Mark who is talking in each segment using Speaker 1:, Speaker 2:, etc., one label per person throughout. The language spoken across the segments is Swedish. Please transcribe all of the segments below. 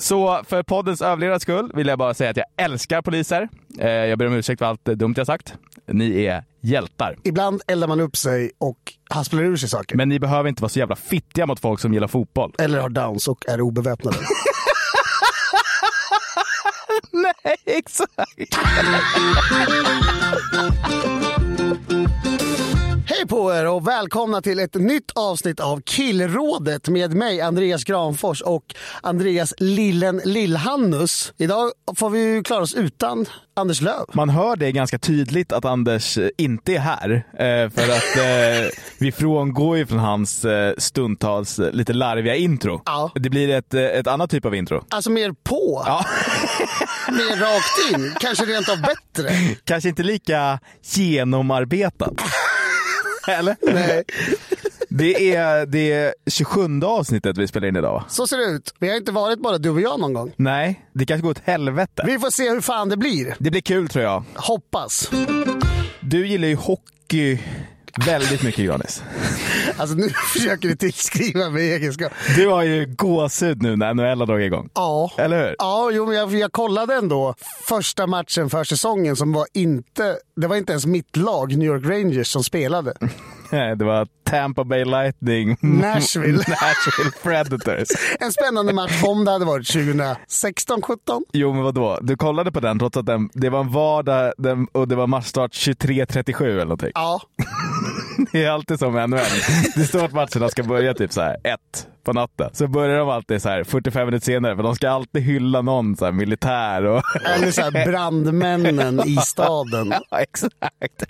Speaker 1: Så för poddens överlevnads skull vill jag bara säga att jag älskar poliser. Eh, Jag ber om ursäkt för allt dumt jag sagt. Ni är hjältar.
Speaker 2: Ibland eldar man upp sig och hasplar ur sig saker.
Speaker 1: Men ni behöver inte vara så jävla fittiga mot folk som gillar fotboll.
Speaker 2: Eller har downs och är obeväpnade.
Speaker 1: Nej, exakt!
Speaker 2: Hej på er och välkomna till ett nytt avsnitt av Killrådet med mig Andreas Granfors och Andreas Lillen Lillhannus. Idag får vi ju klara oss utan Anders Löv.
Speaker 1: Man hör det ganska tydligt att Anders eh, inte är här. eh, För att eh, vi frångår ju från hans eh, stundtals eh, lite larviga intro.
Speaker 2: Ja.
Speaker 1: Det blir ett, eh, ett annat typ av intro.
Speaker 2: Alltså mer på,
Speaker 1: Ja.
Speaker 2: mer rakt in, kanske rent av bättre.
Speaker 1: Kanske inte lika genomarbetat. Eller?
Speaker 2: Nej.
Speaker 1: Det är det 27 avsnittet vi spelar in idag va?
Speaker 2: Så ser det ut. Vi har inte varit bara du och jag någon gång.
Speaker 1: Nej, det kanske går åt helvete.
Speaker 2: Vi får se hur fan det blir.
Speaker 1: Det blir kul tror jag.
Speaker 2: Hoppas.
Speaker 1: Du gillar ju hockey väldigt mycket Johannes.
Speaker 2: Alltså nu försöker du tillskriva mig egenskap.
Speaker 1: Du har ju gåshud nu när NHL har dragit igång.
Speaker 2: Ja.
Speaker 1: Eller hur?
Speaker 2: Ja, jo, men jag, jag kollade ändå första matchen för säsongen som var inte... Det var inte ens mitt lag, New York Rangers, som spelade.
Speaker 1: Nej, Det var Tampa Bay Lightning.
Speaker 2: Nashville.
Speaker 1: Nashville Predators.
Speaker 2: En spännande match om det hade varit 2016, 17.
Speaker 1: Jo men vadå? Du kollade på den trots att den, det var en vardag den, och det var matchstart 23.37 eller någonting.
Speaker 2: Ja,
Speaker 1: Det är alltid som med NHL. Det står att matcherna ska börja typ så här ett på natten. Så börjar de alltid så här 45 minuter senare för de ska alltid hylla någon så här militär och...
Speaker 2: eller så här brandmännen i staden.
Speaker 1: Ja, exakt.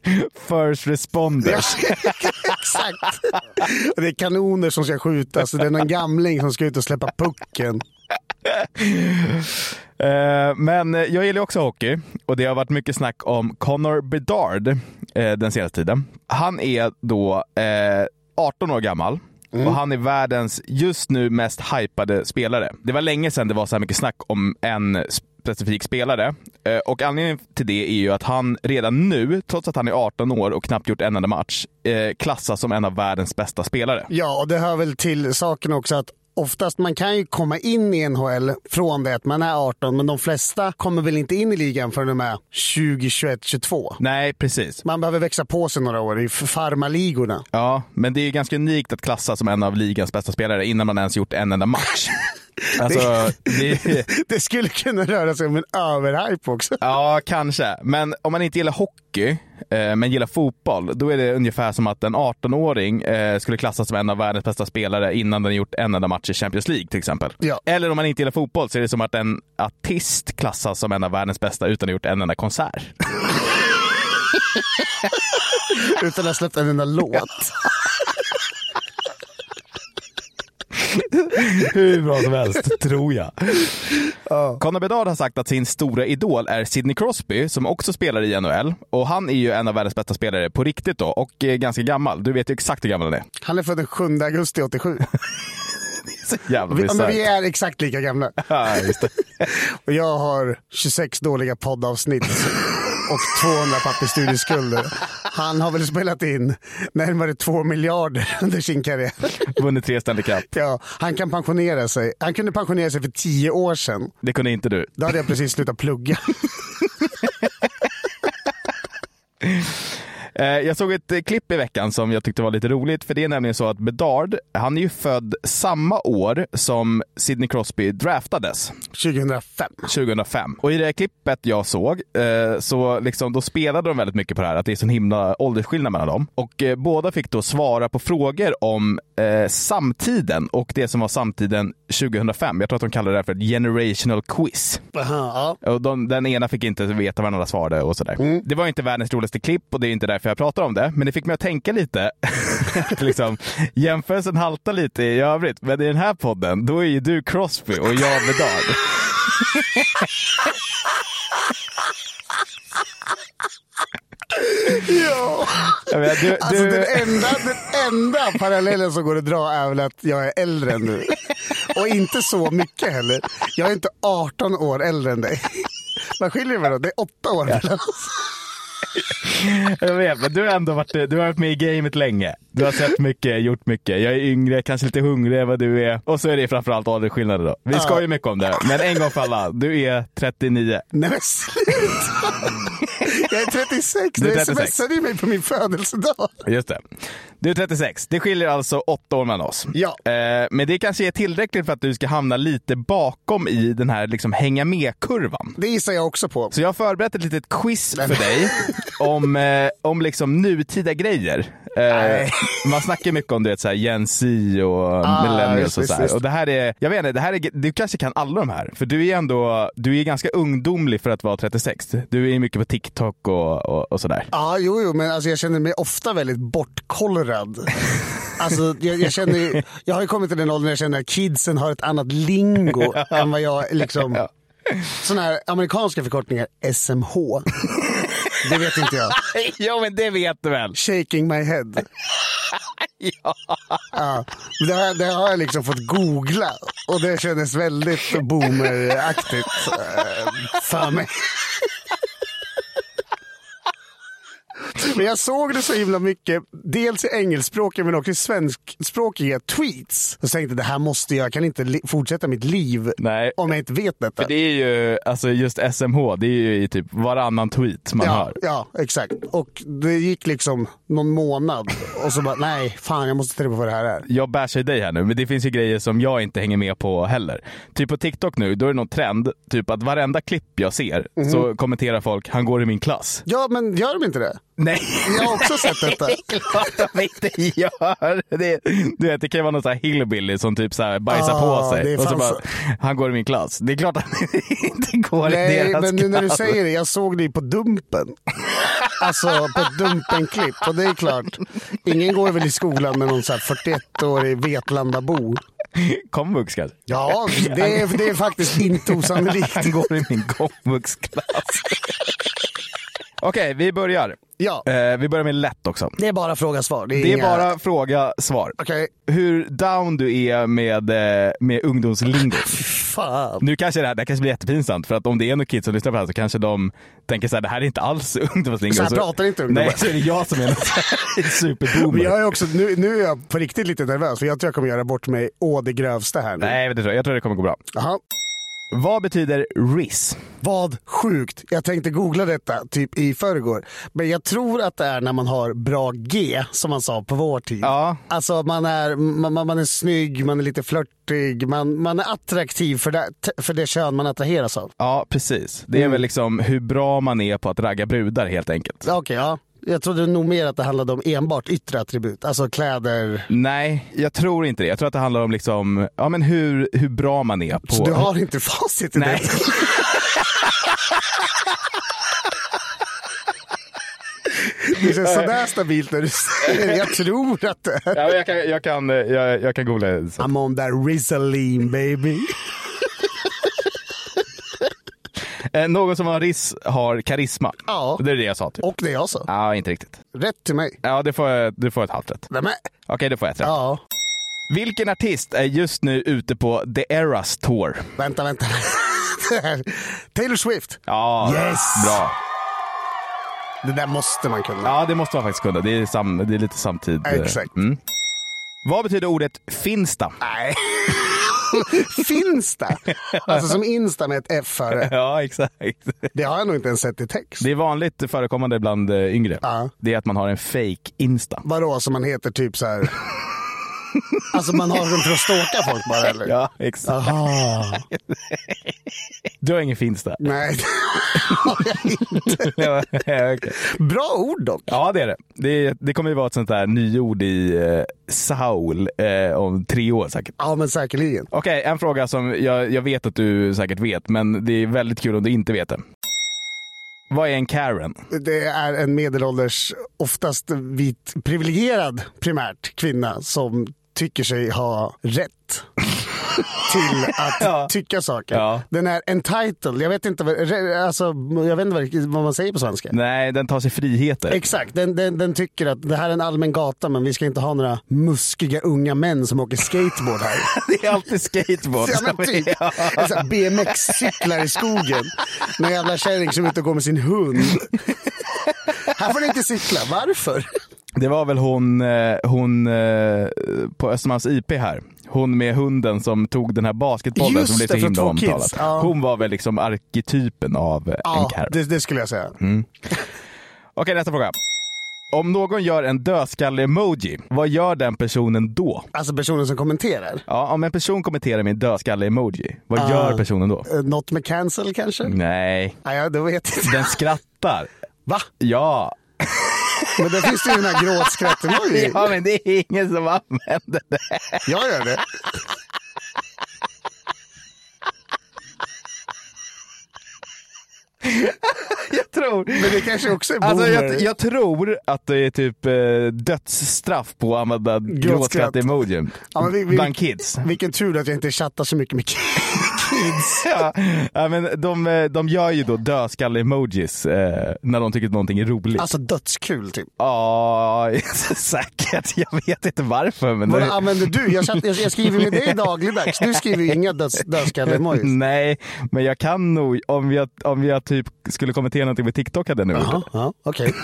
Speaker 1: First responders.
Speaker 2: Exakt. Och Det är kanoner som ska skjutas och det är någon gamling som ska ut och släppa pucken.
Speaker 1: Eh, Men eh, jag gillar också hockey och det har varit mycket snack om Connor Bedard eh, den senaste tiden. Han är då eh, 18 år gammal och han är världens just nu mest hypade spelare. Det var länge sedan det var så här mycket snack om en specifik spelare Eh, och anledningen till det är ju att han redan nu, trots att han är 18 år och knappt gjort en enda match, eh, klassas som en av världens bästa spelare.
Speaker 2: Ja, och det hör väl till saken också att Oftast man kan ju komma in i NHL från det att man är 18, men de flesta kommer väl inte in i ligan förrän de är 20, 21, 22.
Speaker 1: Nej, precis.
Speaker 2: Man behöver växa på sig några år i farmaligorna.
Speaker 1: Ja, men det är ju ganska unikt att klassa som en av ligans bästa spelare innan man ens gjort en enda match. Alltså, det,
Speaker 2: Det skulle kunna röra sig om en överhype också.
Speaker 1: ja, kanske. Men om man inte gillar hockey, eh, men gillar fotboll, då är det ungefär som att en 18-åring eh, skulle klassas som en av världens bästa spelare innan den gjort en enda match i Champions League till exempel.
Speaker 2: Ja.
Speaker 1: Eller om man inte gillar fotboll så är det som att en artist klassas som en av världens bästa utan att ha gjort en enda konsert.
Speaker 2: Utan att ha släppt en enda låt.
Speaker 1: Hur bra som helst, tror jag. Conor Bedard har sagt att sin stora idol är Sidney Crosby, som också spelar i NHL. Och han är ju en av världens bästa spelare på riktigt då, och eh, ganska gammal. Du vet ju exakt hur gammal han är.
Speaker 2: Han är född den 7 augusti 87.
Speaker 1: Så jävla
Speaker 2: Vi, ja, men
Speaker 1: bisarrt.
Speaker 2: vi är exakt lika gamla.
Speaker 1: Ja, just det.
Speaker 2: Och jag har 26 dåliga poddavsnitt och 200 papp i studieskulder. Han har väl spelat in närmare 2 miljarder under sin karriär.
Speaker 1: Vunnit tre Stanley Cup.
Speaker 2: Ja, han kan pensionera sig. Han kunde pensionera sig för 10 år sedan.
Speaker 1: Det kunde inte du.
Speaker 2: Då hade jag precis slutat plugga.
Speaker 1: Eh, Jag såg ett eh, klipp i veckan som jag tyckte var lite roligt, för det är nämligen så att Bedard, han är ju född samma år som Sidney Crosby draftades.
Speaker 2: 2005.
Speaker 1: 2005. Och i det här klippet jag såg, eh, så liksom, då spelade de väldigt mycket på det här, att det är sån himla åldersskillnad mellan dem. Och eh, båda fick då svara på frågor om eh, samtiden och det som var samtiden 2005. Jag tror att de kallade det här för ett generational quiz.
Speaker 2: Aha,
Speaker 1: Och de, den ena fick inte veta vad den andra svarade och sådär.
Speaker 2: Mm.
Speaker 1: Det var inte världens roligaste klipp och det är inte därför jag pratar om det, men det fick mig att tänka lite. Att liksom, jämförelsen haltar lite i övrigt, men i den här podden, då är ju du Crosby och jag Bedard.
Speaker 2: ja.
Speaker 1: Jag menar, du,
Speaker 2: Alltså
Speaker 1: du,
Speaker 2: den enda, den enda parallellen som går att dra är väl att jag är äldre än du. Och inte så mycket heller. Jag är inte 18 år äldre än dig. Vad skiljer mig då? Det är åtta år mellan oss.
Speaker 1: jag vet, men du har ändå varit, du har varit med i gamet länge. Du har sett mycket, gjort mycket. Jag är yngre, kanske lite hungrig än vad du är. Och så är det framförallt åldersskillnader då. Vi skojar mycket om det, men en gång för alla. Du är 39.
Speaker 2: Nej men sluta! Jag är 36.
Speaker 1: Du är
Speaker 2: Du
Speaker 1: 36.
Speaker 2: smsade ju mig på min födelsedag.
Speaker 1: Just det. Du är 36. Det skiljer alltså åtta år mellan oss.
Speaker 2: Ja.
Speaker 1: Eh, men det kanske är tillräckligt för att du ska hamna lite bakom i den här liksom hänga med-kurvan.
Speaker 2: Det gissar jag också på.
Speaker 1: Så jag har förberett ett litet quiz
Speaker 2: Nej,
Speaker 1: för dig om, eh, om liksom nutida grejer. Eh, man snackar mycket om du vet, så här, Gen Z och
Speaker 2: Ah,
Speaker 1: millennials
Speaker 2: just,
Speaker 1: och så
Speaker 2: visst,
Speaker 1: här.
Speaker 2: visst.
Speaker 1: Och det här är, jag vet inte, det här är, du kanske kan alla de här. För du är ändå, du är ganska ungdomlig för att vara 36. Du är mycket på TikTok och, och, och sådär.
Speaker 2: Ja, jo, jo, men alltså jag känner mig ofta väldigt bortkollrad. Alltså, jag, jag, känner, ju- jag har ju kommit till den åldern där jag känner att kidsen har ett annat lingo än vad jag liksom... Sådana här amerikanska förkortningar, SMH. Det vet inte jag.
Speaker 1: Jo men det vet du väl?
Speaker 2: Shaking my head. Ja. Det, har, det har jag liksom fått googla och det kändes väldigt boomeraktigt eh, för mig. Men jag såg det så himla mycket, dels i engelskspråkiga men också i svenskspråkiga tweets. Så tänkte jag, det här måste jag, jag kan inte li- fortsätta mitt liv
Speaker 1: Nej.
Speaker 2: om jag inte vet detta.
Speaker 1: För det är ju, alltså just SMH, det är ju i typ varannan tweet man
Speaker 2: Ja,
Speaker 1: hör.
Speaker 2: ja, exakt. Och det gick liksom någon månad och så bara, nej, fan jag måste ta reda på vad det här är.
Speaker 1: Jag bashar ju dig här nu, men det finns ju grejer som jag inte hänger med på heller. Typ på TikTok nu, då är det någon trend, typ att varenda klipp jag ser
Speaker 2: Mhm.
Speaker 1: så kommenterar folk “Han går i min klass”.
Speaker 2: Ja, men gör de inte det?
Speaker 1: Nej,
Speaker 2: Jag har också sett detta.
Speaker 1: det är klart de inte gör! Det, du vet, det kan ju vara någon sån här hillbilly som typ så här bajsar
Speaker 2: Ah,
Speaker 1: på sig
Speaker 2: det är
Speaker 1: och så
Speaker 2: fan
Speaker 1: bara
Speaker 2: så.
Speaker 1: “Han går i min klass”. Det är klart att han inte går i
Speaker 2: Nej,
Speaker 1: deras
Speaker 2: men nu när du
Speaker 1: klass.
Speaker 2: säger det, jag såg dig på Dumpen. Alltså på ett Dumpen-klipp. Och det är klart, ingen går väl i skolan med någon så här 41-årig Vetlandabo.
Speaker 1: Komvux kanske?
Speaker 2: Ja, det är, det är faktiskt inte osannolikt.
Speaker 1: Han går i min komvuxklass. Okej, vi börjar.
Speaker 2: Ja,
Speaker 1: Eh, vi börjar med lätt också.
Speaker 2: det är bara fråga-svar. Det är,
Speaker 1: Det är
Speaker 2: inga-
Speaker 1: bara fråga, svar.
Speaker 2: Okej,
Speaker 1: Hur down du är med, eh, med ungdomslingo.
Speaker 2: fan.
Speaker 1: Nu kanske det här, det här kanske blir jättepinsamt för att om det är några kids som lyssnar på det här så kanske de tänker så här, det här är inte alls ungdomslingo.
Speaker 2: Så här pratar inte ungdomar.
Speaker 1: Nej, så är det jag som är en superboomer.
Speaker 2: Men jag är också, nu, nu är jag på riktigt lite nervös för jag tror jag kommer göra bort mig å det grövsta här nu.
Speaker 1: Nej, men det tror jag. jag tror det kommer gå bra.
Speaker 2: Jaha.
Speaker 1: Vad betyder RIS?
Speaker 2: Vad sjukt! Jag tänkte googla detta typ i förrgår. Men jag tror att det är när man har bra G, som man sa på vår tid.
Speaker 1: Ja.
Speaker 2: Alltså man är, man, man man är snygg, man är lite flörtig, man, man är attraktiv för det, för det kön man attraheras av.
Speaker 1: Ja, precis. Det är väl liksom hur bra man är på att ragga brudar helt enkelt.
Speaker 2: Okej, Mm. ja. Jag trodde nog mer att det handlade om enbart yttre attribut, alltså kläder.
Speaker 1: Nej, jag tror inte det. Jag tror att det handlar om liksom, ja, men hur, hur bra man är på...
Speaker 2: Så du har inte facit i
Speaker 1: Nej.
Speaker 2: det? Det känns sådär stabilt när du säger det. Jag tror att det är.
Speaker 1: Ja, men jag, kan, jag, kan, eh, jag, jag kan googla det. sen.
Speaker 2: I'm on that Rizzoline baby.
Speaker 1: Eh, någon som har riss har karisma.
Speaker 2: Ja.
Speaker 1: Det är det jag sa typ.
Speaker 2: Och det jag sa.
Speaker 1: Ja, inte riktigt.
Speaker 2: Rätt till mig.
Speaker 1: Ja, det får, jag- du får ett halvt rätt.
Speaker 2: Nej, men,
Speaker 1: Okej, det får jag ett rätt.
Speaker 2: ja,
Speaker 1: Vilken artist är just nu ute på The Eras Tour?
Speaker 2: vänta, vänta. Det här- Taylor Swift.
Speaker 1: Ja,
Speaker 2: Yes!
Speaker 1: bra.
Speaker 2: Det där måste man kunna.
Speaker 1: Ja, det måste man faktiskt kunna. Det är, sam, det är lite samtid. eh, mm.
Speaker 2: Exakt.
Speaker 1: Vad betyder ordet finsta?
Speaker 2: Nej. som Finsta. Alltså som Insta med ett F före.
Speaker 1: Ja, exakt.
Speaker 2: Det har jag nog inte ens sett i text.
Speaker 1: Det är vanligt förekommande bland eh, yngre.
Speaker 2: Ja.
Speaker 1: Det är att man har en fake Insta.
Speaker 2: Vadå, som man heter typ så här... Alltså man har dem för att stalka folk bara eller?
Speaker 1: Ja, exakt.
Speaker 2: Aha.
Speaker 1: Du har ingen Finsta?
Speaker 2: Nej, det har jag inte.
Speaker 1: ja, okej.
Speaker 2: Bra ord dock.
Speaker 1: Ja, det är det. det. Det kommer ju vara ett sånt där nyord i eh, Saul eh, om tre år säkert.
Speaker 2: Ja, men säkerligen.
Speaker 1: Okej, en fråga som jag, jag vet att du säkert vet, men det är väldigt kul om du inte vet det. Vad är en Karen?
Speaker 2: Det är en medelålders, oftast vit, privilegierad primärt kvinna som tycker sig ha rätt till att
Speaker 1: Ja.
Speaker 2: tycka saker.
Speaker 1: Ja.
Speaker 2: Den är entitled. Jag vet inte, vad- re- alltså, jag vet inte vad- vad man säger på svenska.
Speaker 1: Nej, den tar sig friheter.
Speaker 2: Exakt, den, den, den tycker att det här är en allmän gata men vi ska inte ha några muskiga unga män som åker skateboard här.
Speaker 1: det är alltid skateboard.
Speaker 2: Ja, men typ. En sån här BMX-cyklar i skogen. Någon jävla kärring som är ute och går med sin hund. Här får ni inte cykla, varför?
Speaker 1: Det var väl hon, eh, hon eh, på Östermalms IP här. Hon med hunden som tog den här basketbollen
Speaker 2: Just
Speaker 1: som blev
Speaker 2: det,
Speaker 1: så
Speaker 2: från
Speaker 1: himla
Speaker 2: två
Speaker 1: omtalad.
Speaker 2: kids. Ja.
Speaker 1: Hon var väl liksom arketypen av eh, en
Speaker 2: Ja,
Speaker 1: Karen.
Speaker 2: det, det skulle jag säga.
Speaker 1: Mm. Okej, nästa fråga. Om någon gör en dödskalle-emoji, vad gör den personen då?
Speaker 2: Alltså personen som kommenterar.
Speaker 1: Ja, om en person kommenterar min dödskalle-emoji, vad
Speaker 2: Ah.
Speaker 1: gör personen då?
Speaker 2: Eh, Något med cancel kanske?
Speaker 1: Nej,
Speaker 2: Nej, ja, det vet jag inte.
Speaker 1: Mm. den skrattar.
Speaker 2: Va?
Speaker 1: Ja.
Speaker 2: Men där finns det ju den här gråtskratten. Oj,
Speaker 1: ja, men det är ingen som använder det.
Speaker 2: jag gör det.
Speaker 1: Jag tror,
Speaker 2: Men det kanske också är boomer.
Speaker 1: alltså, jag, jag tror att det är typ eh, dödsstraff på att använda gråtskratt-emojin.
Speaker 2: Ja, men vi- vi-
Speaker 1: Bland kids.
Speaker 2: Vilken tur att jag inte chattar så mycket med kids.
Speaker 1: Ja, ja, men de, eh, de gör ju då dödskalle-emojis eh, när de tycker att någonting är roligt.
Speaker 2: Alltså dödskul typ.
Speaker 1: Ja, säkert. Jag vet inte varför. Men
Speaker 2: Vad använder du? Jag, chatt, jag, jag skriver med dig dagligdags. Du skriver ju inga döds, dödskalle-emojis.
Speaker 1: Nej, men jag kan nog, om jag, om jag typ skulle kommentera någonting med TikTok hade jag nog gjort det.
Speaker 2: Ja, ja, Okej.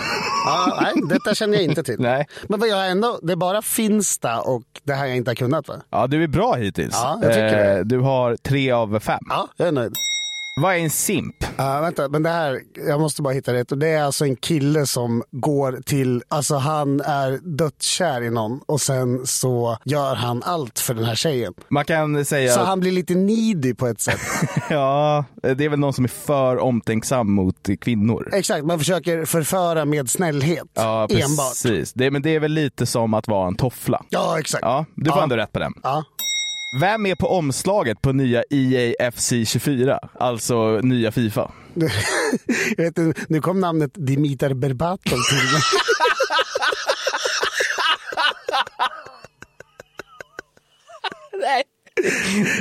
Speaker 2: Ja, nej, detta känner jag inte till.
Speaker 1: Nej.
Speaker 2: Men vad jag har ändå, det är bara Finsta och det här jag inte har kunnat va?
Speaker 1: Ja, du är bra hittills. Eh,
Speaker 2: Ja, jag tycker det.
Speaker 1: Du har tre av fem.
Speaker 2: Ja, jag är nöjd.
Speaker 1: Vad är en simp?
Speaker 2: Ja, vänta, men det här, jag måste bara hitta rätt. Och det är alltså en kille som går till, alltså han är dödskär i någon och sen så gör han allt för den här tjejen.
Speaker 1: Man kan säga...
Speaker 2: Så han blir lite needy på ett sätt.
Speaker 1: Ja, det är väl någon som är för omtänksam mot kvinnor.
Speaker 2: Exakt, man försöker förföra med snällhet
Speaker 1: Ja,
Speaker 2: enbart.
Speaker 1: precis. Det, men det är väl lite som att vara en toffla.
Speaker 2: Ja, exakt.
Speaker 1: Ja, du får
Speaker 2: Ja.
Speaker 1: ändå rätt på den.
Speaker 2: Ja.
Speaker 1: Vem är på omslaget på nya E EAFC 24? Alltså nya Fifa.
Speaker 2: Jag vet, inte, nu kom namnet Dimitar Berbatov till mig.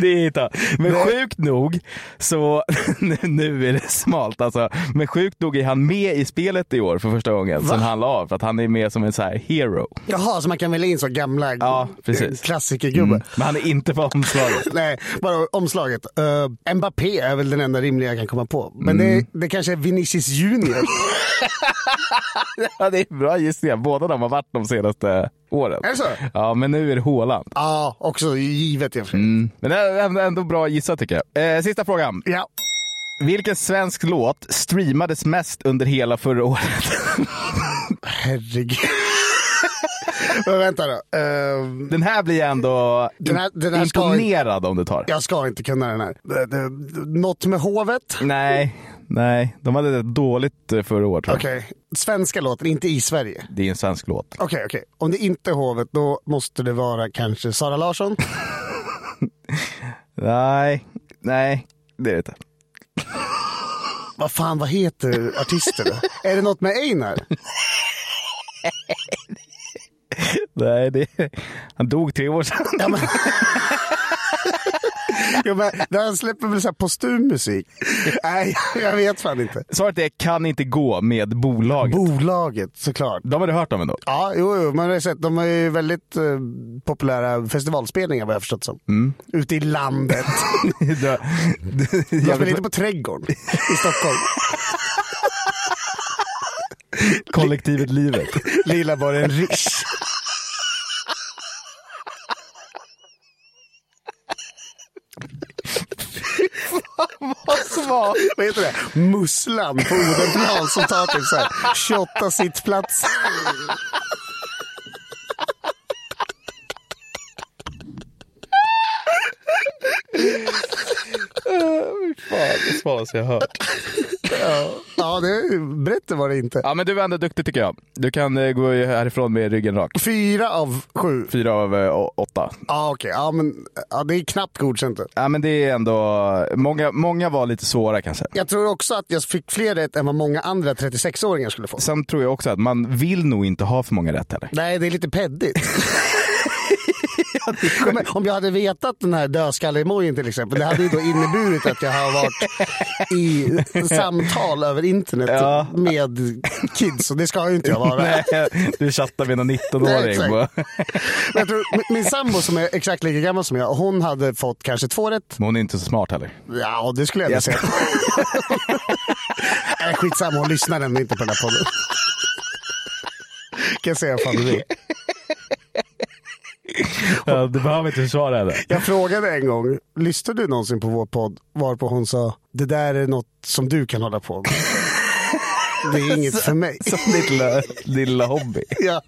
Speaker 1: Det är hitta. Men sjukt nog så, nu är det smalt alltså, men sjukt nog är han med i spelet i år för första gången sen han la av. För att han är med som en så här hero.
Speaker 2: Jaha, så man kan välja in så gamla
Speaker 1: Ja, precis.
Speaker 2: klassikergubbar.
Speaker 1: Mm. Men han är inte på omslaget.
Speaker 2: Nej, bara omslaget. Eh, Mbappé är väl den enda rimliga jag kan komma på. Men
Speaker 1: Mm.
Speaker 2: det, det kanske är Vinicius Junior.
Speaker 1: Ja, det är bra gissningar. Båda de har varit de senaste åren.
Speaker 2: Är det så?
Speaker 1: Ja, men nu är det Haaland.
Speaker 2: ja, också givet i och för sig.
Speaker 1: Men det är ändå- ändå bra gissat tycker jag. Eh, sista frågan.
Speaker 2: Ja.
Speaker 1: Vilken svensk låt streamades mest under hela förra året?
Speaker 2: Herregud. Men vänta då. Eh,
Speaker 1: Den här blir jag ändå
Speaker 2: Den här- den här ska-
Speaker 1: imponerad om du tar.
Speaker 2: jag ska inte kunna den här. Uh, något med hovet?
Speaker 1: Mm. Nej, nej. De hade det dåligt eh, förra året. tror jag.
Speaker 2: Okej. Svenska låten, inte i Sverige.
Speaker 1: Det är en svensk låt.
Speaker 2: Okej, okej. Om det inte är hovet, då måste det vara kanske Sara Larsson.
Speaker 1: Nej, nej. Det är det inte.
Speaker 2: vad fan, vad heter artisten? då? är det något med Einar?
Speaker 1: Nej, det Han dog tre år sedan.
Speaker 2: Ja, men... jo, men han släpper väl så här postum musik? Nej, jag vet fan inte.
Speaker 1: Svaret är kan inte gå med bolaget.
Speaker 2: Bolaget såklart.
Speaker 1: De har du hört om ändå.
Speaker 2: Ja, jo, jo, man har ju sett. De har ju väldigt eh, populära festivalspelningar vad jag har förstått som. Ute i landet. De
Speaker 1: Jag
Speaker 2: spelar inte på Trädgården i Stockholm.
Speaker 1: kollektivet livet.
Speaker 2: Lilla borgen Rish.
Speaker 1: Vad smart!
Speaker 2: Vad heter det? Musslan på Odenplan som tar typ så här 28 sittplats.
Speaker 1: Fan, det svåraste jag hört.
Speaker 2: Ja, det, berätta var det inte.
Speaker 1: Ja, men du var ändå duktig tycker jag. Du kan eh, gå härifrån med ryggen rak.
Speaker 2: Fyra av sju.
Speaker 1: Fyra av eh, å- åtta.
Speaker 2: Ja, okej. Ja, men ja, det är knappt godkänt.
Speaker 1: Ja, men det är ändå... Många, många var lite svåra kanske.
Speaker 2: Jag tror också att jag fick fler rätt än vad många andra 36-åringar skulle få.
Speaker 1: Sen tror jag också att man vill nog inte ha för många rätt heller.
Speaker 2: Nej, det är lite peddigt. Men om jag hade vetat den här dödskalle-emojin till exempel, det hade ju då inneburit att jag har varit i samtal över internet
Speaker 1: Ja.
Speaker 2: med kids. Och det ska ju inte jag vara.
Speaker 1: Nej, du chattar med någon
Speaker 2: Nej,
Speaker 1: 19-åring.
Speaker 2: exakt.
Speaker 1: bara.
Speaker 2: Men jag tror, min- min sambo som är exakt lika gammal som jag, hon hade fått kanske två rätt.
Speaker 1: Men hon är inte så smart heller.
Speaker 2: Ja, det skulle jag ändå
Speaker 1: Jag
Speaker 2: säga. Nej, skitsamma, hon lyssnar ändå inte på den här podden. kan jag säga vad fan du vill.
Speaker 1: Ja, du behöver inte försvara henne.
Speaker 2: Jag frågade en gång, lyssnar du någonsin på vår podd? Varpå hon sa, det där är något som du kan hålla på med. Det är inget för mig.
Speaker 1: Som ditt lilla, lilla hobby.
Speaker 2: Ja.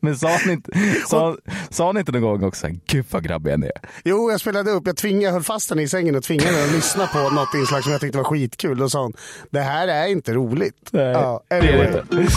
Speaker 1: Men sa han inte, sa, sa han inte någon gång också så här, gud vad grabbig jag är?
Speaker 2: Jo, jag spelade upp. Jag tvingade, jag höll fast henne i sängen och tvingade henne att lyssna på något inslag som jag tyckte var skitkul. Då sa hon, det här är inte roligt.
Speaker 1: Nej,
Speaker 2: Ja,
Speaker 1: det är
Speaker 2: anyway.
Speaker 1: det inte.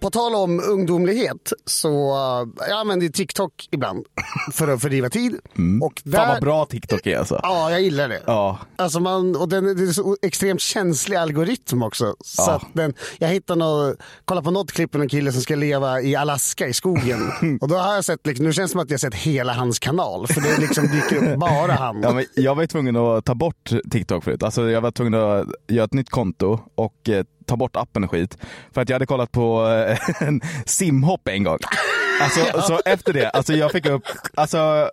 Speaker 2: På tal om ungdomlighet så uh, jag använder ju TikTok ibland för att fördriva tid. Och där,
Speaker 1: Mm. Fan vad bra TikTok är alltså.
Speaker 2: Ja, jag gillar det.
Speaker 1: Ja.
Speaker 2: Alltså man, och den, det är så extremt känslig algoritm också. Så
Speaker 1: Ja.
Speaker 2: att den, jag hittade något, kolla på något klipp med en kille som ska leva i Alaska i skogen. och då har jag sett, liksom, nu känns det som att jag sett hela hans kanal. För det liksom dyker upp bara han.
Speaker 1: Ja, men jag var ju tvungen att ta bort TikTok förut. Alltså, jag var tvungen att göra ett nytt konto och eh, ta bort appen och skit. För att jag hade kollat på eh, en simhopp en gång. Alltså, Så efter det, alltså jag fick upp, alltså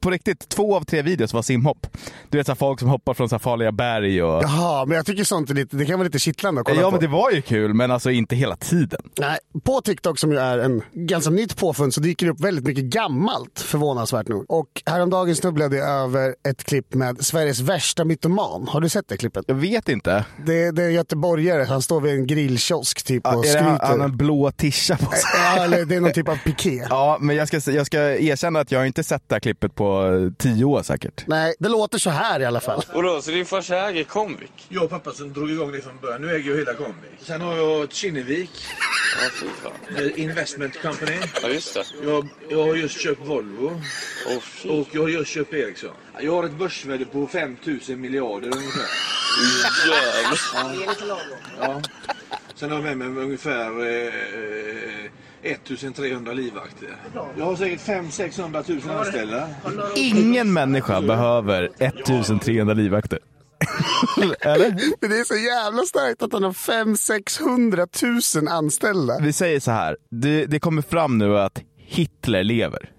Speaker 1: på riktigt, två av tre videos var simhopp. Du vet så här, folk som hoppar från så här, farliga berg och...
Speaker 2: Jaha, men jag tycker sånt är lite, det kan vara lite kittlande att kolla
Speaker 1: Ja
Speaker 2: på.
Speaker 1: men det var ju kul, men alltså inte hela tiden.
Speaker 2: Nej, på TikTok som ju är en ganska nytt påfund så dyker det upp väldigt mycket gammalt förvånansvärt nog. Och häromdagen snubblade jag över ett klipp med Sveriges värsta mytoman. Har du sett det klippet?
Speaker 1: Jag vet inte.
Speaker 2: Det, det är en göteborgare, han står vid en grillkiosk typ och
Speaker 1: är det han,
Speaker 2: skryter.
Speaker 1: han har en blå tisha på sig?
Speaker 2: Ja, eller det är någon typ av piké.
Speaker 1: Ja, men jag ska, jag ska erkänna att jag inte sett det här klippet på eh, tio år säkert.
Speaker 2: Nej, det låter så här i alla fall.
Speaker 3: Vadå, så din farsa äger Comvik?
Speaker 4: Jag och pappa som drog igång det från början. Nu äger jag hela Comvik. Sen har jag ett Kinnevik
Speaker 3: Ja, fy fan.
Speaker 4: eh, Investment Company.
Speaker 3: Ja, just det.
Speaker 4: Jag, jag har just köpt Volvo
Speaker 3: Åh, fy.
Speaker 4: och jag har just köpt Ericsson. Jag har ett börsvärde på 5000 miljarder ungefär.
Speaker 3: Jävlar.
Speaker 4: Ja. Sen har jag med mig ungefär eh, 1300 livvakter. Jag har säkert 500 000 anställda.
Speaker 1: Ingen människa behöver 1300 livvakter. Eller?
Speaker 2: Men det är så jävla starkt att han har 500 600 000 anställda.
Speaker 1: Vi säger så här. Det, det kommer fram nu att Hitler lever.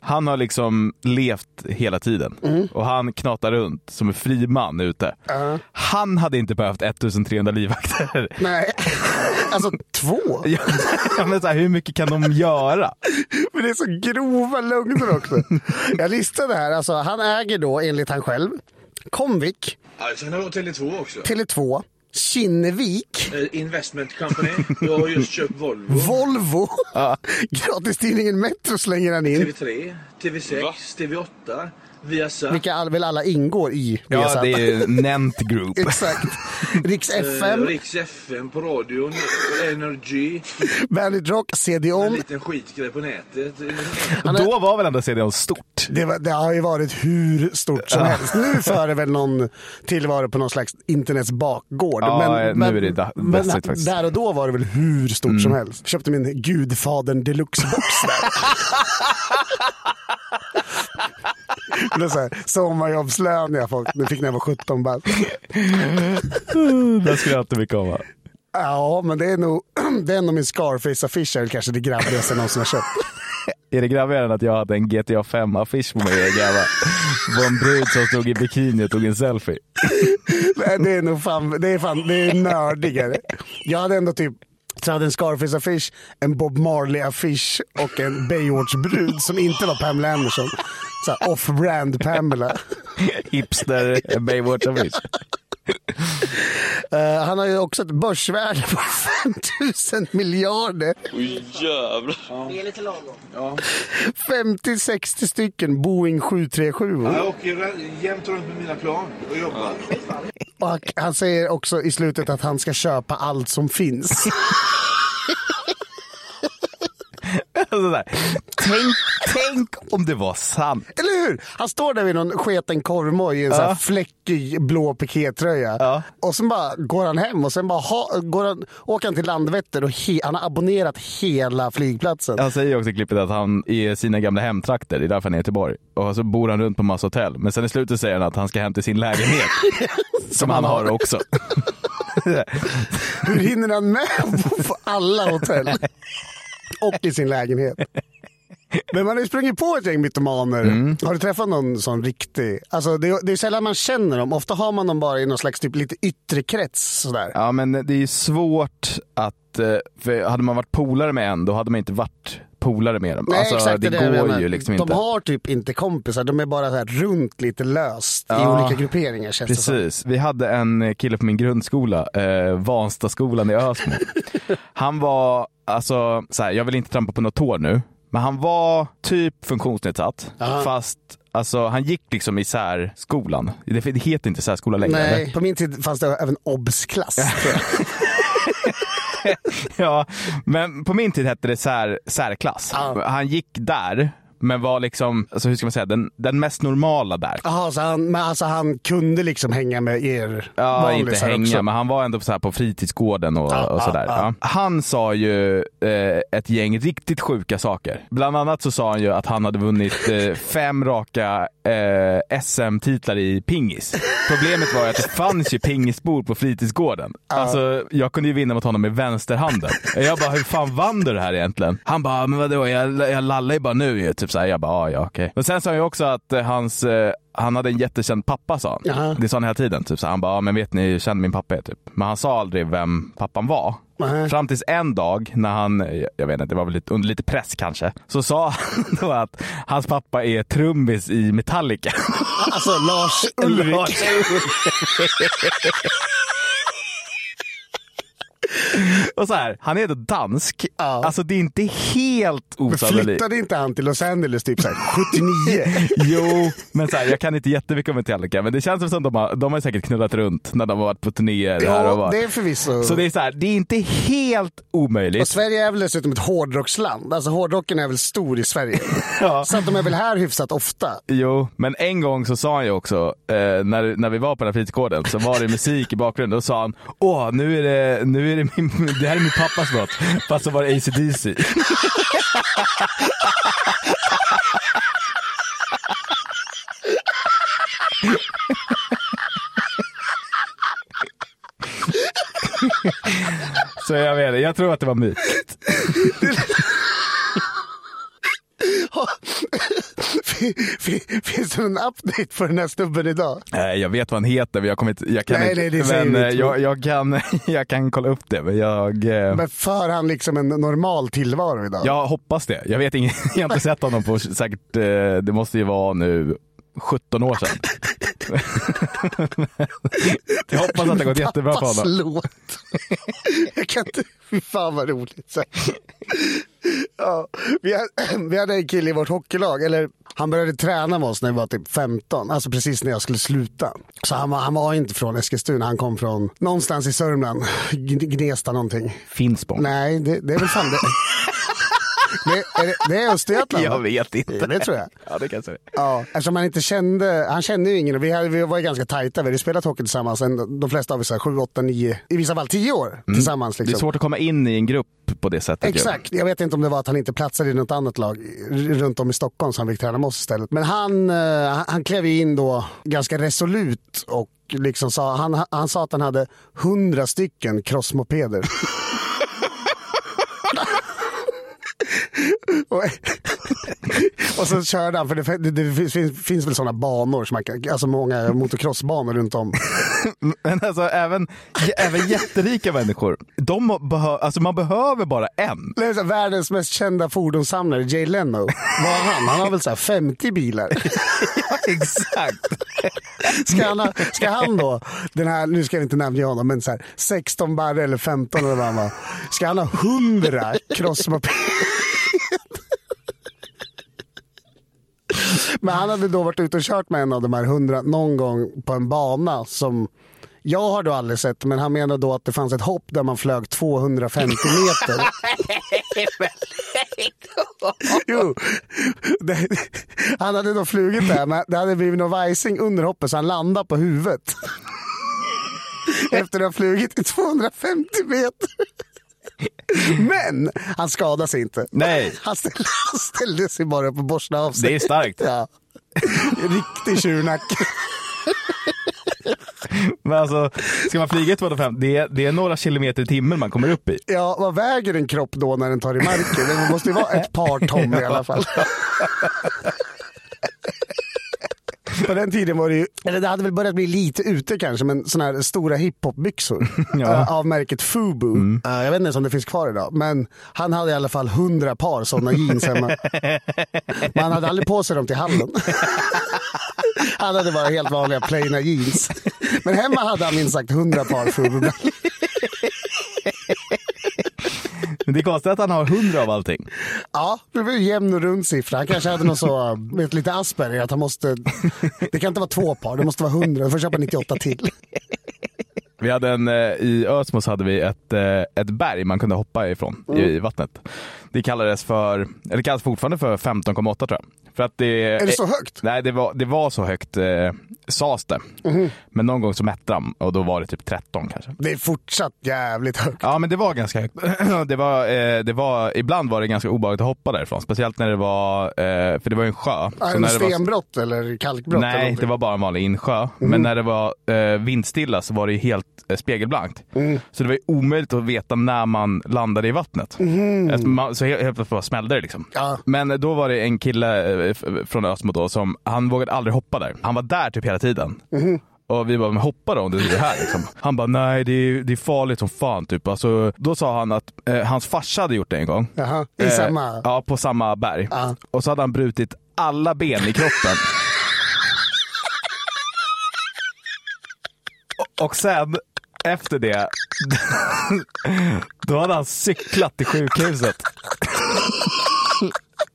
Speaker 1: Han har liksom levt hela tiden och han knatar runt som en fri man ute. Han hade inte behövt 1300 livvakter.
Speaker 2: Nej, alltså två.
Speaker 1: Ja, men så här, hur mycket kan de göra?
Speaker 2: Men det är så grova lögner också. Jag listade här, alltså han äger då enligt han själv Comvik,
Speaker 4: Ja, sen har jag Tele2 också.
Speaker 2: Tele2, Kinnevik,
Speaker 4: Eh, Investment Company. Jag har just köpt Volvo.
Speaker 2: Volvo, gratistidningen Metro slänger han in.
Speaker 4: TV3, TV6,
Speaker 3: Va?
Speaker 4: TV8, Viasat.
Speaker 2: Vilka all, väl alla ingår i
Speaker 1: Ja,
Speaker 2: Viasat.
Speaker 1: det är ju Nent Group.
Speaker 2: Exakt. Riks
Speaker 4: Eh,
Speaker 2: FM,
Speaker 4: Riks FM på radion, Energy,
Speaker 2: Bandit Rock,
Speaker 4: en
Speaker 2: CD-ON.
Speaker 4: liten skitgrej på nätet. Eh,
Speaker 1: Då var väl ändå CDON stort?
Speaker 2: Det, var, det har ju varit hur stort som helst. Nu för det väl någon tillvaro på någon slags internets bakgård.
Speaker 1: Ja, nu är det da-
Speaker 2: men
Speaker 1: dassigt faktiskt. Mm.
Speaker 2: där och då var det väl hur stort som helst. Köpte min Gudfadern deluxe-box där. Det är så här, sommarjobbslön jag fick, det fick när jag var 17 bast.
Speaker 1: Där skulle jag inte mycket om va?
Speaker 2: Ja, men det är nog, det är nog min Scarface-affisch är väl kanske det grabbigaste jag någonsin har köpt.
Speaker 1: Är det grabbigare än att jag hade en GTA 5-affisch på mig? Jag var en brud som stod i bikini och tog en selfie.
Speaker 2: Nej, det är nog fan, det är fan, det är nördigare. Jag hade ändå typ så jag hade en Scarface-affisch, en Bob Marley-affisch och en Baywatch-brud som inte var Pamela Anderson. Så här, Off-brand Pamela.
Speaker 1: Hipster Baywatch of Rich.
Speaker 2: Eh, han har ju också ett börsvärde på 5000 miljarder.
Speaker 3: Oj jävlar.
Speaker 2: 50-60 stycken Boeing 737.
Speaker 4: Jag åker ra- jämt runt med mina plan och jobbar.
Speaker 2: Och han, han säger också i slutet att han ska köpa allt som finns.
Speaker 1: Sådär. Alltså, Tänk, tänk om det var sant.
Speaker 2: Eller hur? Han står där vid någon sketen korvmoj i en sån här fläckig blå pikétröja. Och sen bara går han hem och sen bara ha, går han, åker han till Landvetter och he, han har abonnerat hela flygplatsen.
Speaker 1: Han säger också i klippet att han i sina gamla hemtrakter, det är därför han är i Göteborg, och så bor han runt på massa hotell. Men sen i slutet säger han att han ska hem till sin lägenhet. som han har också.
Speaker 2: Hur hinner han med att bo på alla hotell? Och i sin lägenhet. Men man har ju sprungit på ett gäng mytomaner. Har du träffat någon sån riktig? Alltså det, är- det är sällan man känner dem. Ofta har man dem bara i någon slags typ lite yttre krets. Sådär.
Speaker 1: Ja men det är ju svårt att, eh, för hade man varit polare med en då hade man inte varit polare med dem.
Speaker 2: Nej,
Speaker 1: alltså,
Speaker 2: exakt
Speaker 1: det,
Speaker 2: är jag
Speaker 1: går
Speaker 2: menar.
Speaker 1: ju liksom
Speaker 2: De
Speaker 1: inte.
Speaker 2: har typ inte kompisar, de är bara så här runt lite löst i
Speaker 1: Ja,
Speaker 2: olika grupperingar känns det som.
Speaker 1: Precis. Vi hade en eh, kille på min grundskola, eh, Vanstaskolan i Ösmo. Han var, alltså, så här, jag vill inte trampa på något tår nu, men han var typ funktionsnedsatt. Fast alltså, han gick liksom i särskolan. Det det heter inte särskola längre.
Speaker 2: Nej,
Speaker 1: eller?
Speaker 2: på min tid fanns det även obs-klass.
Speaker 1: Ja, men på min tid hette det sär, särklass.
Speaker 2: Ja.
Speaker 1: Han gick där, men var liksom, alltså, hur ska man säga, den, den mest normala där.
Speaker 2: Jaha, så han, men alltså han kunde liksom hänga med er
Speaker 1: Ja, inte
Speaker 2: vanlisar
Speaker 1: hänga,
Speaker 2: också.
Speaker 1: men han var ändå så här på fritidsgården och,
Speaker 2: Ja,
Speaker 1: och
Speaker 2: ja,
Speaker 1: sådär.
Speaker 2: ja.
Speaker 1: Ja. Han sa ju eh, ett gäng riktigt sjuka saker. Bland annat så sa han ju att han hade vunnit eh, fem raka eh, SM-titlar i pingis. Problemet var ju att det fanns ju pingisbord på fritidsgården. Alltså, jag kunde ju vinna mot honom med vänsterhanden. Jag bara, hur fan vann du det här egentligen? Han bara, men vadå, jag, jag lallar ju bara nu ju. Typ såhär, jag bara, "Ah, ja okej. Men sen sa han ju också att eh, hans eh, han hade en jättekänd pappa sa han.
Speaker 2: Jaha.
Speaker 1: Det sa han hela tiden. Typ så här, han bara, ja, men vet ni hur känd min pappa är? Typ. Men han sa aldrig vem pappan var.
Speaker 2: Nej.
Speaker 1: Fram tills en dag när han, jag- jag vet inte, det var väl lite, under lite press kanske, så sa han då att hans pappa är trummis i Metallica.
Speaker 2: Alltså Lars Ulrik.
Speaker 1: Och så här, han är då dansk.
Speaker 2: Ja.
Speaker 1: Alltså det är inte helt osannolikt.
Speaker 2: Flyttade inte han till Los Angeles typ så här, 79?
Speaker 1: Jo, men så här, jag kan inte jättemycket om Metallica, men det känns som att de har, de har säkert knullat runt när de har varit på turnéer. här och
Speaker 2: ja,
Speaker 1: var.
Speaker 2: det är förvisso.
Speaker 1: Så det är så här, det är inte helt omöjligt.
Speaker 2: Och Sverige är väl dessutom ett hårdrocksland. Alltså hårdrocken är väl stor i Sverige.
Speaker 1: Ja.
Speaker 2: Så att de är väl här hyfsat ofta.
Speaker 1: Jo, men en gång så sa han ju också, eh, när, när vi var på den här fritidsgården så var det musik i bakgrunden. Då sa han, åh nu är det, nu är det, min, det här är min pappas låt. Fast så var det ACDC. Så jag vet inte, jag tror att det var myt.
Speaker 2: Fin- Finns det någon update för den här snubben idag?
Speaker 1: Nej, jag vet vad han heter, men jag, kommer inte, jag kan
Speaker 2: Nej,
Speaker 1: inte.
Speaker 2: nej, det säger
Speaker 1: men,
Speaker 2: vi
Speaker 1: eh,
Speaker 2: inte.
Speaker 1: jag, jag, kan, jag kan kolla upp det, men jag, eh,
Speaker 2: Men för han liksom en normal tillvaro idag?
Speaker 1: jag hoppas det. Jag vet inget, jag har inte sett honom på säkert, eh, det måste ju vara nu 17 år sedan. jag hoppas att det har gått jättebra för
Speaker 2: Pappas
Speaker 1: honom.
Speaker 2: låt. Jag kan inte... Fy fan vad roligt. Så. Ja, vi, hade, vi hade en kille i vårt hockeylag, eller han började träna med oss när vi var typ 15, alltså precis när jag skulle sluta. Så han var, han var inte från Eskilstuna, han kom från någonstans i Sörmland, Gn- Gnesta någonting.
Speaker 1: Finspång.
Speaker 2: Nej, det, det är väl fan det. Det är, det, det är Östergötland?
Speaker 1: Jag
Speaker 2: va?
Speaker 1: vet inte.
Speaker 2: Det tror jag.
Speaker 1: Ja, det kanske det är.
Speaker 2: Ja, eftersom han inte kände, han kände ju ingen och vi, hade, vi var ju ganska tajta. Vi hade spelat hockey tillsammans, en, de flesta av oss 7, 8, 9, i vissa fall 10 år tillsammans.
Speaker 1: Mm. Det är
Speaker 2: Liksom.
Speaker 1: svårt att komma in i en grupp på det sättet. ju.
Speaker 2: Exakt. Jag vet inte om det var att han inte platsade i något annat lag r- runt om i Stockholm så han fick träna med oss istället. Men han, eh, han klev ju in då ganska resolut och liksom sa, han, han sa att han hade 100 stycken crossmopeder. Och, och så körde han, för det, det, det finns, finns väl sådana banor, som man, kan- alltså många motocrossbanor runt om.
Speaker 1: Men alltså även, även jätterika människor, de behö, alltså, man behöver bara en.
Speaker 2: Det är så här, Världens mest kända fordonssamlare, Jay Leno. Var han? Han har väl så här 50 bilar.
Speaker 1: Exakt.
Speaker 2: Ska han, ha- ska han då, den här, nu ska jag inte nämna honom, men så här, 16 barre eller 15 eller vad han var. Ska han ha 100 krossmoped? Men han hade då varit ute och kört med en av de här 100 någon gång på en bana som jag har då aldrig sett, men han menar då att det fanns ett hopp där man flög 250 meter. Jo, det, han hade då flugit där, men det hade blivit någon vajsing under hoppet så han landade på huvudet. Efter att ha flugit i 250 meter. Men han skadade sig inte.
Speaker 1: Nej.
Speaker 2: Han ställde, han ställde sig bara upp och borstade av sig.
Speaker 1: Det är starkt.
Speaker 2: Ja. Riktig tjurnacke.
Speaker 1: Men alltså, ska man flyga i 250, det är, det är några kilometer i timmen man kommer upp i.
Speaker 2: Ja, vad väger en kropp då när den tar i marken? Det måste ju vara ett par ton i alla fall. På den tiden var det ju, eller det hade väl börjat bli lite ute kanske, men sådana här stora hiphopbyxor
Speaker 1: Ja.
Speaker 2: eh, av märket Fubu. Eh, Jag vet inte ens om det finns kvar idag, men han hade i alla fall hundra par sådana jeans hemma. Men han hade aldrig på sig dem till hallen. Han hade bara helt vanliga plaina jeans. Men hemma hade han minst sagt hundra par Fubu.
Speaker 1: Men det är konstigt att han har 100 av allting.
Speaker 2: Ja, det var ju jämn och rund siffra. Han kanske hade någon så, vet, lite Asperger, att han måste... Det kan inte vara två par, det måste vara hundra. Du får köpa 98 till.
Speaker 1: Vi hade en, eh, I Ösmos hade vi ett, eh, ett berg man kunde hoppa ifrån i,
Speaker 2: Mm.
Speaker 1: i vattnet. Det kallades för, eller det kallas fortfarande för 15,8 tror jag. För att det,
Speaker 2: Är det så högt?
Speaker 1: Nej, det var, det var så högt eh, sades det.
Speaker 2: Mhm.
Speaker 1: Men någon gång så mätte de och då var det typ 13 kanske.
Speaker 2: Det är fortsatt jävligt högt.
Speaker 1: Ja, men det var ganska högt. det var, eh, det var, ibland var det ganska obehagligt att hoppa därifrån. Speciellt när det var, eh, för det var ju en sjö.
Speaker 2: Ja,
Speaker 1: Så
Speaker 2: en
Speaker 1: när det var-
Speaker 2: stenbrott eller kalkbrott? eller Mm.
Speaker 1: Nej,
Speaker 2: någonting.
Speaker 1: det var bara en vanlig insjö. Men när det var eh, vindstilla så var det ju helt eh, spegelblankt.
Speaker 2: Mm.
Speaker 1: Så det var ju omöjligt att veta när man landade i vattnet. Eftersom Man, så helt helt plötsligt bara smällde det liksom.
Speaker 2: Mm. Ja.
Speaker 1: Men då var det en kille eh, f- från Ösmo då som, han vågade aldrig hoppa där. Han var där typ hela tiden.
Speaker 2: Mm-hmm.
Speaker 1: Och vi bara, men hoppa då om du är här liksom. Han bara, nej det är, det är farligt som fan typ. Alltså, då sa han att eh, hans farsa hade gjort det en gång.
Speaker 2: Jaha, i
Speaker 1: Eh,
Speaker 2: samma...
Speaker 1: Ja, på samma berg.
Speaker 2: Ja.
Speaker 1: Och så hade han brutit alla ben i kroppen. Och- Och sen, efter det, då hade han cyklat till sjukhuset.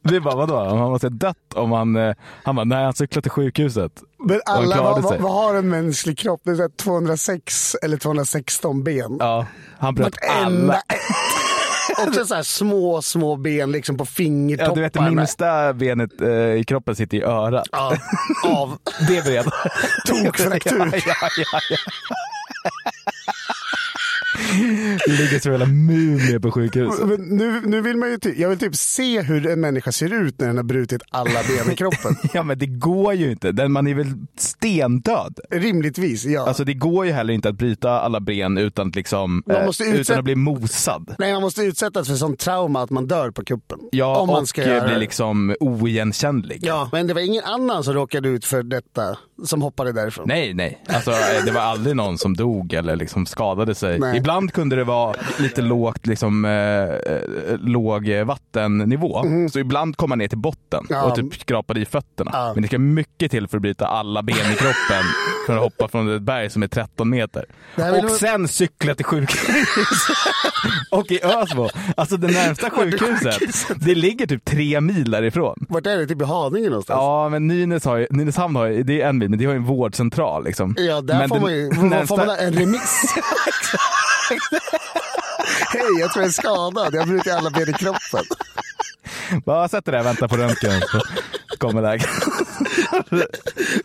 Speaker 1: Vi bara, vadå? Han måste ha dött om han... eh, Han bara, nej han cyklade till sjukhuset.
Speaker 2: Men
Speaker 1: Och han
Speaker 2: alla,
Speaker 1: klarade
Speaker 2: vad, vad,
Speaker 1: sig.
Speaker 2: vad har en mänsklig kropp? Det är så här 206 eller 216 ben.
Speaker 1: Ja, han bröt
Speaker 2: Enda
Speaker 1: alla.
Speaker 2: ett. Också så här små, små ben liksom på fingertopparna.
Speaker 1: Ja, du vet det minsta benet eh, i kroppen sitter i örat.
Speaker 2: Ja, av
Speaker 1: Det vred.
Speaker 2: tokfraktur.
Speaker 1: Ja, ja, ja. Ligger som en jävla mumie på sjukhuset.
Speaker 2: Men nu, nu vill man ju typ, jag vill typ se hur en människa ser ut när den har brutit alla ben i kroppen.
Speaker 1: Ja men det går ju inte. Den, man är väl stendöd.
Speaker 2: Rimligtvis, ja.
Speaker 1: Alltså det går ju heller inte att bryta alla ben utan att, liksom,
Speaker 2: Man
Speaker 1: eh,
Speaker 2: måste
Speaker 1: utan
Speaker 2: utsätta-
Speaker 1: att bli mosad.
Speaker 2: Nej, man måste utsättas för sånt trauma att man dör på kuppen.
Speaker 1: Ja,
Speaker 2: om man
Speaker 1: och
Speaker 2: ska
Speaker 1: eh,
Speaker 2: göra
Speaker 1: bli
Speaker 2: det.
Speaker 1: liksom oigenkännlig.
Speaker 2: Ja, men det var ingen annan som råkade ut för detta, som hoppade därifrån.
Speaker 1: Nej, nej. Alltså, eh, det var aldrig någon som dog eller liksom skadade sig.
Speaker 2: Nej.
Speaker 1: Ibland kunde det vara lite lågt, liksom, eh, eh, låg eh, vattennivå. Så ibland kom man ner till botten
Speaker 2: Mhm. Ja.
Speaker 1: och typ skrapade i fötterna.
Speaker 2: Ja.
Speaker 1: Men det ska mycket till för att bryta alla ben i kroppen för att hoppa från ett berg som är 13 meter.
Speaker 2: Det här vill
Speaker 1: Och
Speaker 2: du-
Speaker 1: sen cykla till sjukhuset. och i Ösmo. Alltså det närmsta sjukhuset, det ligger typ tre mil därifrån.
Speaker 2: Vart är det? Typ i Haninge någonstans?
Speaker 1: Ja, men Nynäs har ju, Nynäshamn har ju, det är en mil, men det har ju en vårdcentral liksom.
Speaker 2: Ja, där
Speaker 1: men
Speaker 2: får
Speaker 1: den
Speaker 2: man ju vad
Speaker 1: närmsta-
Speaker 2: får man där? en remiss. Hej, jag tror jag är skadad. Jag har brutit alla ben i kroppen.
Speaker 1: Bara sätt dig där och vänta på röntgen så kommer läkaren.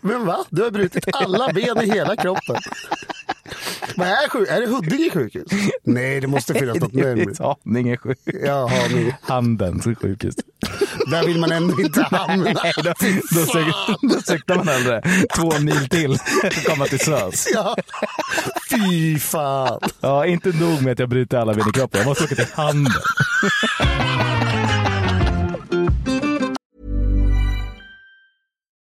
Speaker 2: Men va? Du har brutit alla ben i hela kroppen. Vad är, sjuk- är det Huddinge sjukhus? Nej, det måste finnas något
Speaker 1: Det är ju
Speaker 2: närmare.
Speaker 1: Haninge sjukhus.
Speaker 2: Ja, Haninge.
Speaker 1: Handens sjukhus.
Speaker 2: Där vill man ändå inte hamna.
Speaker 1: Då, då, sök, då sökte man hellre två mil till för att komma till SÖS.
Speaker 2: Ja. Fy fan.
Speaker 1: Ja, inte nog med att jag bryter alla ben i kroppen, jag måste åka till handen.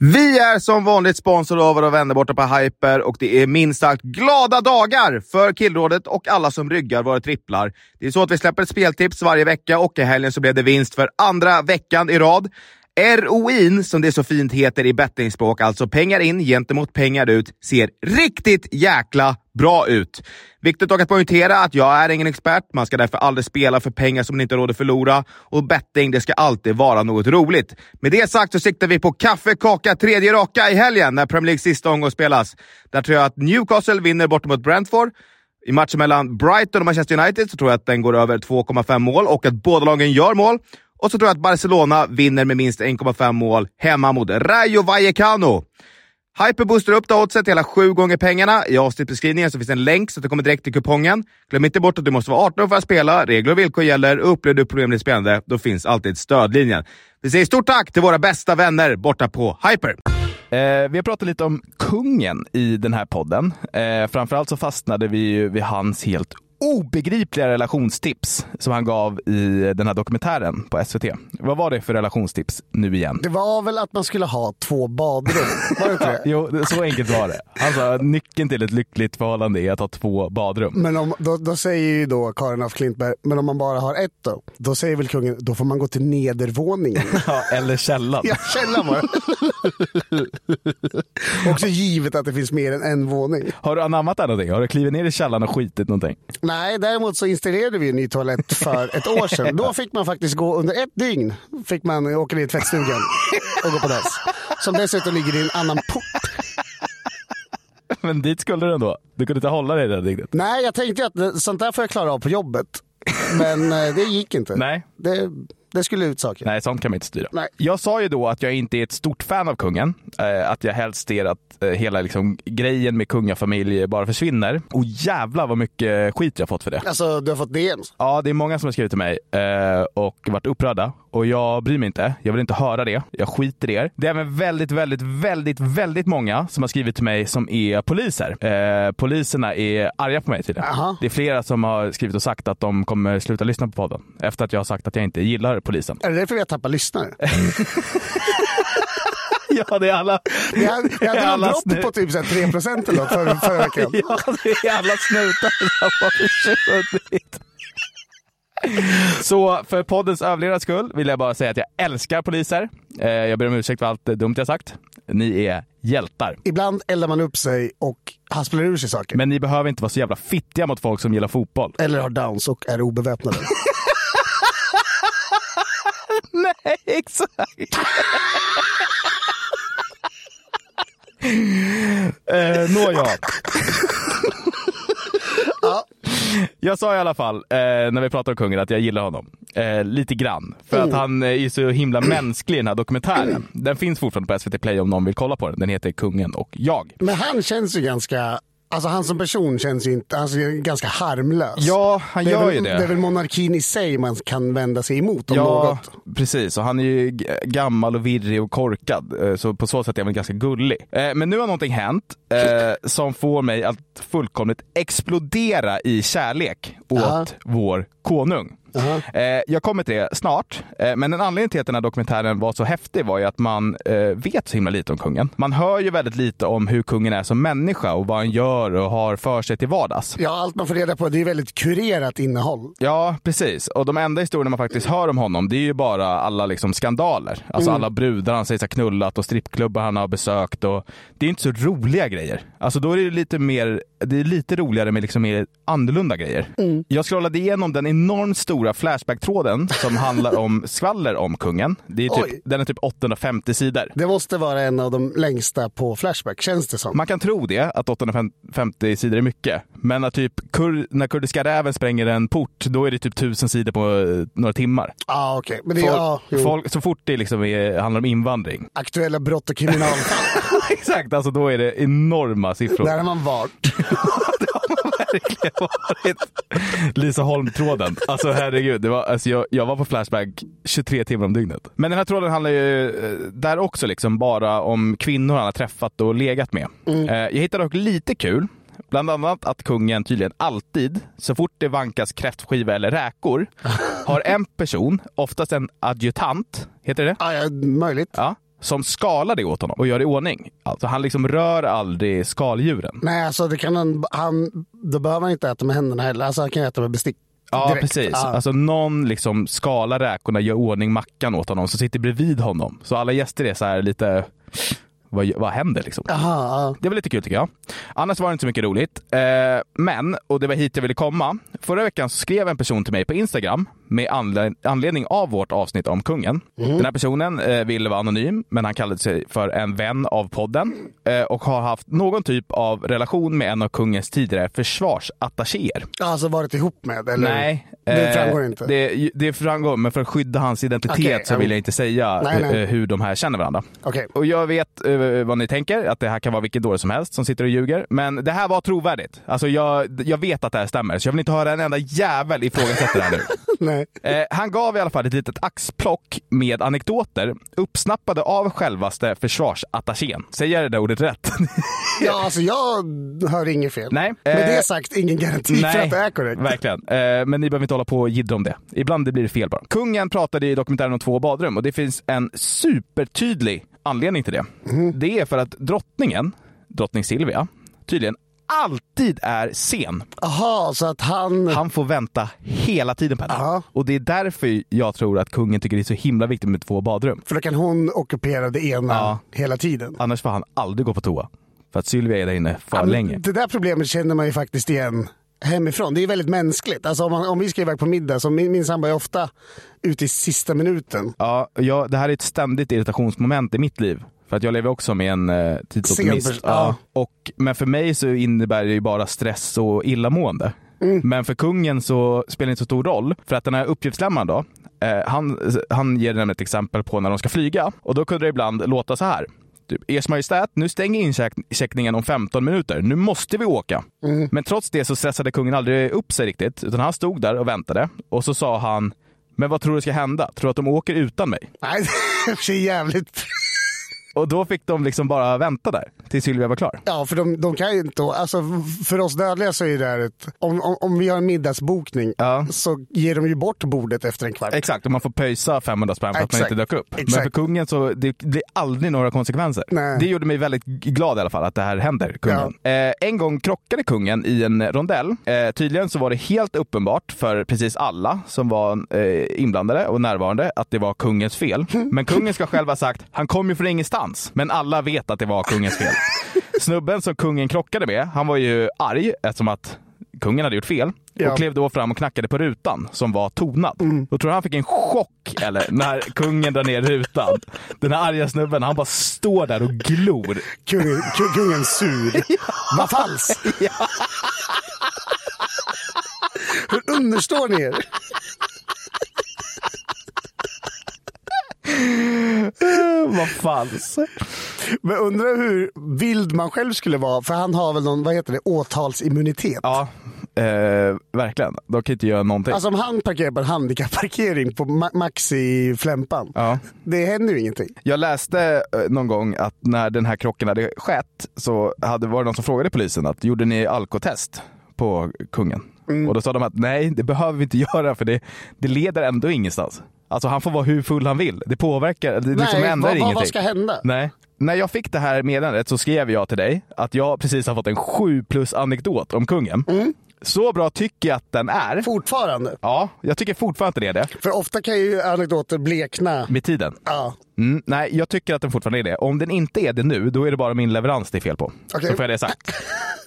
Speaker 1: Vi är som vanligt sponsrade av våra vänner borta på Hyper och det är minst sagt glada dagar för Killrådet och alla som ryggar våra tripplar. Det är så att vi släpper ett speltips varje vecka och i helgen så blev det vinst för andra veckan i rad. ROIn, som det så fint heter i bettingspråk, alltså pengar in gentemot pengar ut, ser riktigt jäkla bra ut. Viktigt dock att poängtera att jag är ingen expert. Man ska därför aldrig spela för pengar som man inte har råd att förlora. Och betting, det ska alltid vara något roligt. Med det sagt så siktar vi på kaffe, kaka, tredje raka i helgen när Premier Leagues sista omgång spelas. Där tror jag att Newcastle vinner bort mot Brentford. I matchen mellan Brighton och Manchester United så tror jag att den går över 2,5 mål och att båda lagen gör mål. Och så tror jag att Barcelona vinner med minst 1,5 mål hemma mot Rayo Vallecano. Hyper boostar upp det oddset till hela sju gånger pengarna. I avsnittbeskrivningen så finns en länk så att du kommer direkt till kupongen. Glöm inte bort att du måste vara 18 för att spela. Regler och villkor gäller. Upplever du problem med ditt spelande, då finns alltid stödlinjen. Vi säger stort tack till våra bästa vänner borta på Hyper! Eh, vi har pratat lite om kungen i den här podden. Eh, framförallt så fastnade vi ju vid hans helt obegripliga relationstips som han gav i den här dokumentären på SVT. Vad var det för relationstips nu igen?
Speaker 2: Det var väl att man skulle ha två badrum? Var det inte det?
Speaker 1: Jo, det- så enkelt var det. Han sa nyckeln till ett lyckligt förhållande är att ha två badrum.
Speaker 2: Men om, då, då säger ju då Karin af Klintberg, men om man bara har ett då? Då säger väl kungen, då får man gå till nedervåningen.
Speaker 1: Ja, eller källan.
Speaker 2: Ja, källan var det. Också givet att det finns mer än en våning.
Speaker 1: Har du anammat det här någonting? Har du klivit ner i källaren och skitit någonting?
Speaker 2: Nej, däremot så installerade vi en ny toalett för ett år sedan. Då fick man faktiskt gå under ett dygn, fick man åka ner i tvättstugan och gå på dass. Som dessutom ligger i en annan port.
Speaker 1: Men dit skulle du ändå. Du kunde inte hålla dig där riktigt.
Speaker 2: Nej, jag tänkte ju att det- sånt där får jag klara av på jobbet. Men eh, det gick inte.
Speaker 1: Nej.
Speaker 2: Det, det skulle ut saker.
Speaker 1: Nej, sånt kan man inte styra.
Speaker 2: Nej.
Speaker 1: Jag sa ju då att jag inte är ett stort fan av kungen. Eh, att jag helst ser att eh, hela liksom, grejen med kungafamilj bara försvinner. Och jävla vad mycket skit jag fått för det.
Speaker 2: Alltså, du har fått det ens.
Speaker 1: Ja, det är många som har skrivit till mig eh, och varit upprörda. Och jag bryr mig inte. Jag vill inte höra det. Jag skiter i er. Det är även väldigt, väldigt, väldigt, väldigt många som har skrivit till mig som är poliser. Eh, poliserna är arga på mig tydligen.
Speaker 2: Aha.
Speaker 1: Det är flera som har skrivit och sagt att de kommer sluta lyssna på podden. Efter att jag har sagt att jag inte gillar polisen.
Speaker 2: Är det därför vi har tappat lyssnare?
Speaker 1: ja, det är alla.
Speaker 2: Vi hade, vi
Speaker 1: det är
Speaker 2: hade någon
Speaker 1: alla
Speaker 2: dropp
Speaker 1: snu-
Speaker 2: på typ så här 3% eller något förra, förra veckan.
Speaker 1: Ja, det är alla snutar som har försvunnit. Så för poddens överlevnads skull vill jag bara säga att jag älskar poliser. Eh, Jag ber om ursäkt för allt eh, dumt jag sagt. Ni är hjältar.
Speaker 2: Ibland eldar man upp sig och hasplar ur sig saker.
Speaker 1: Men ni behöver inte vara så jävla fittiga mot folk som gillar fotboll.
Speaker 2: Eller har downs och är obeväpnade.
Speaker 1: Nej, exakt! eh, Nåja. Jag sa i alla fall, eh, när vi pratade om kungen, att jag gillar honom. Eh, lite grann. För att han eh, är så himla mänsklig i den här dokumentären. Den finns fortfarande på SVT Play om någon vill kolla på den. Den heter Kungen och jag.
Speaker 2: Men han känns ju ganska... Alltså han som person känns ju inte, han är ganska harmlös.
Speaker 1: Ja, han
Speaker 2: det är
Speaker 1: gör
Speaker 2: väl,
Speaker 1: ju det.
Speaker 2: Det är väl monarkin i sig man kan vända sig emot om
Speaker 1: Ja,
Speaker 2: något.
Speaker 1: precis. Och han är ju g- gammal och virrig och korkad. Eh, Så på så sätt är han ganska gullig. Eh, Men nu har någonting hänt eh, som får mig att fullkomligt explodera i kärlek åt
Speaker 2: Aha.
Speaker 1: vår konung. Eh, Jag kommer till det snart, eh, men en anledning till att den här dokumentären var så häftig var ju att man eh, vet så himla lite om kungen. Man hör ju väldigt lite om hur kungen är som människa och vad han gör och har för sig till vardags.
Speaker 2: Ja, allt man får reda på det är väldigt kurerat innehåll.
Speaker 1: Ja, precis. Och de enda historierna man faktiskt hör om honom, det är ju bara alla liksom skandaler. Alltså alla brudar han sägs ha knullat och strippklubbar han har besökt. Och det är inte så roliga grejer. Alltså då är det ju lite mer, det är lite roligare med liksom mer annorlunda grejer. Jag scrollade igenom den enormt stora stora Flashback-tråden som handlar om skvaller om kungen. Det är
Speaker 2: Oj.
Speaker 1: typ, den är typ 850 sidor.
Speaker 2: Det måste vara en av de längsta på Flashback, känns det som.
Speaker 1: Man kan tro det, att 850 sidor är mycket. Men att typ kur- när kurdiska räven spränger en port, då är det typ 1000 sidor på eh, några timmar.
Speaker 2: Ja, ah, okej. Men det är
Speaker 1: Folk,
Speaker 2: ja, jo.
Speaker 1: folk, så fort det liksom är, handlar om invandring.
Speaker 2: aktuella brott och kriminalfall.
Speaker 1: Exakt, alltså då är det enorma siffror.
Speaker 2: Där har man varit.
Speaker 1: det har verkligen varit. Lisa Holm-tråden. Alltså herregud, det var, alltså, jag, jag var på Flashback 23 timmar om dygnet. Men den här tråden handlar ju eh, där också liksom bara om kvinnor han har träffat och legat med.
Speaker 2: Mm.
Speaker 1: Eh, Jag hittade dock lite kul. Bland annat att kungen tydligen alltid, så fort det vankas kräftskiva eller räkor, har en person, oftast en adjutant, heter det
Speaker 2: Ah, ja, möjligt.
Speaker 1: Ja. Som skalar det åt honom och gör det i ordning. Alltså han liksom rör aldrig skaldjuren.
Speaker 2: Nej, alltså det kan han, han, då behöver han inte äta med händerna heller. Alltså han kan äta med bestick.
Speaker 1: Ja,
Speaker 2: direkt.
Speaker 1: precis.
Speaker 2: Ah.
Speaker 1: Alltså någon liksom skalar räkorna, gör ordning mackan åt honom, som sitter bredvid honom. Så alla gäster är så här lite, vad, vad händer liksom?
Speaker 2: Aha, ah.
Speaker 1: Det var lite kul tycker jag. Annars var det inte så mycket roligt. Eh, men, och det var hit jag ville komma. Förra veckan så skrev en person till mig på Instagram med anle- anledning av vårt avsnitt om kungen.
Speaker 2: Mm.
Speaker 1: Den här personen eh, ville vara anonym, men han kallade sig för en vän av podden eh, och har haft någon typ av relation med en av kungens tidigare försvarsattachéer.
Speaker 2: Alltså varit ihop med? Eller?
Speaker 1: Nej.
Speaker 2: Det
Speaker 1: eh,
Speaker 2: framgår inte.
Speaker 1: Det, det framgår, men för att skydda hans identitet
Speaker 2: Okej,
Speaker 1: så
Speaker 2: ja.
Speaker 1: vill jag inte säga
Speaker 2: Nej, nej.
Speaker 1: eh, hur de här känner varandra.
Speaker 2: Okej.
Speaker 1: Och jag vet eh, vad ni tänker, att det här kan vara vilken dåre som helst som sitter och ljuger. Men det här var trovärdigt. Alltså jag, jag vet att det här stämmer, så jag vill inte höra en enda jävel ifrågasätta det här nu.
Speaker 2: Nej.
Speaker 1: Eh, han gav i alla fall ett litet axplock med anekdoter uppsnappade av självaste försvarsattachén. Säger jag det där ordet rätt?
Speaker 2: Ja, alltså jag hör inget fel.
Speaker 1: Nej.
Speaker 2: Med
Speaker 1: Eh,
Speaker 2: det sagt, ingen garanti Typ för att det är korrekt.
Speaker 1: Verkligen. Eh, men ni behöver inte hålla på och jiddra om det. Ibland det blir det fel bara. Kungen pratade i dokumentären om två badrum och det finns en supertydlig anledning till det.
Speaker 2: Mm.
Speaker 1: Det är för att drottningen, drottning Silvia, tydligen alltid är
Speaker 2: Mm.
Speaker 1: sen.
Speaker 2: Aha, så att han...
Speaker 1: Han får vänta hela tiden på henne.
Speaker 2: Aha.
Speaker 1: Och det är därför jag tror att kungen tycker det är så himla viktigt med två badrum.
Speaker 2: För då kan hon ockupera det ena
Speaker 1: Ja.
Speaker 2: hela tiden.
Speaker 1: Annars får han aldrig gå på toa. För att Sylvia är där inne för
Speaker 2: Ja, men
Speaker 1: länge.
Speaker 2: Det där problemet känner man ju faktiskt igen hemifrån. Det är väldigt mänskligt. Alltså om, man, om vi ska iväg på middag, så min, min sambo är ofta ute i sista minuten.
Speaker 1: Ja, jag, det här är ett ständigt irritationsmoment i mitt liv. För att jag lever också med en eh, tidsoptimist.
Speaker 2: Sen pers-
Speaker 1: ja. och, men för mig så innebär det ju bara stress och illamående. Men för kungen så spelar det inte så stor roll. För att den här uppgiftslämnaren då, eh, han, han ger nämligen ett exempel på när de ska flyga. Och då kunde det ibland låta så här. Typ, Ers Majestät, nu stänger incheckningen om 15 minuter. Nu måste vi åka. Men trots det så stressade kungen aldrig upp sig riktigt. Utan han stod där och väntade. Och så sa han, men vad tror du ska hända? Tror du att de åker utan mig?
Speaker 2: Nej, det är jävligt...
Speaker 1: Och då fick de liksom bara vänta där tills Sylvia var klar.
Speaker 2: Ja, för de, de kan ju inte... Alltså, för oss dödliga så är det här ett... Om, om, om vi har en middagsbokning
Speaker 1: Ja.
Speaker 2: så ger de ju bort bordet efter en kvart.
Speaker 1: Exakt, och man får pöjsa 500 spänn för att man
Speaker 2: Exakt.
Speaker 1: inte dök upp. Men för
Speaker 2: Exakt.
Speaker 1: kungen så det det blir aldrig några konsekvenser.
Speaker 2: Nej.
Speaker 1: Det gjorde mig väldigt g- glad i alla fall att det här händer kungen. Eh, en gång krockade kungen i en rondell. Eh, tydligen så var det helt uppenbart för precis alla som var eh, inblandade och närvarande att det var kungens fel. Men kungen ska själv ha sagt, han kom ju från ingenstans. Men alla vet att det var kungens fel. Snubben som kungen krockade med, han var ju arg eftersom att kungen hade gjort fel
Speaker 2: Ja.
Speaker 1: och klev då fram och knackade på rutan som var tonad. Då tror jag han fick en chock eller när kungen drar ner rutan. Den här arga snubben han bara står där och glor.
Speaker 2: Kungen, ku- kungen sur. Vad falskt! Hur understår ni er?
Speaker 1: Vad falskt.
Speaker 2: Men undrar hur vild man själv skulle vara, för han har väl någon, vad heter det, åtalsimmunitet?
Speaker 1: Ja, eh, verkligen. De kan inte göra någonting.
Speaker 2: Alltså om han parkerar på en handikapparkering på Ma- Maxi-flämpan,
Speaker 1: Ja.
Speaker 2: det händer ju ingenting.
Speaker 1: Jag läste eh, någon gång att när den här krocken hade skett så hade, var det någon som frågade polisen att gjorde ni alkotest på kungen?
Speaker 2: Mm.
Speaker 1: Och då sa de att nej, det behöver vi inte göra för det, det leder ändå ingenstans. Alltså han får vara hur full han vill. Det påverkar, det liksom ändrar
Speaker 2: Nej, vad- vad- vad
Speaker 1: ingenting.
Speaker 2: ska hända?
Speaker 1: Nej. När jag fick det
Speaker 2: Mm.
Speaker 1: här meddelandet så skrev jag till dig att jag precis har fått en 7 plus anekdot om kungen. Så bra tycker jag att den är.
Speaker 2: Fortfarande.
Speaker 1: Ja, jag tycker fortfarande inte det är det.
Speaker 2: För ofta kan ju anekdoter blekna.
Speaker 1: Med tiden.
Speaker 2: Ja.
Speaker 1: Mm, nej, jag tycker att den fortfarande är det. Om den inte är det nu, då är det bara min leverans det är fel på.
Speaker 2: Okej.
Speaker 1: Så får jag det sagt.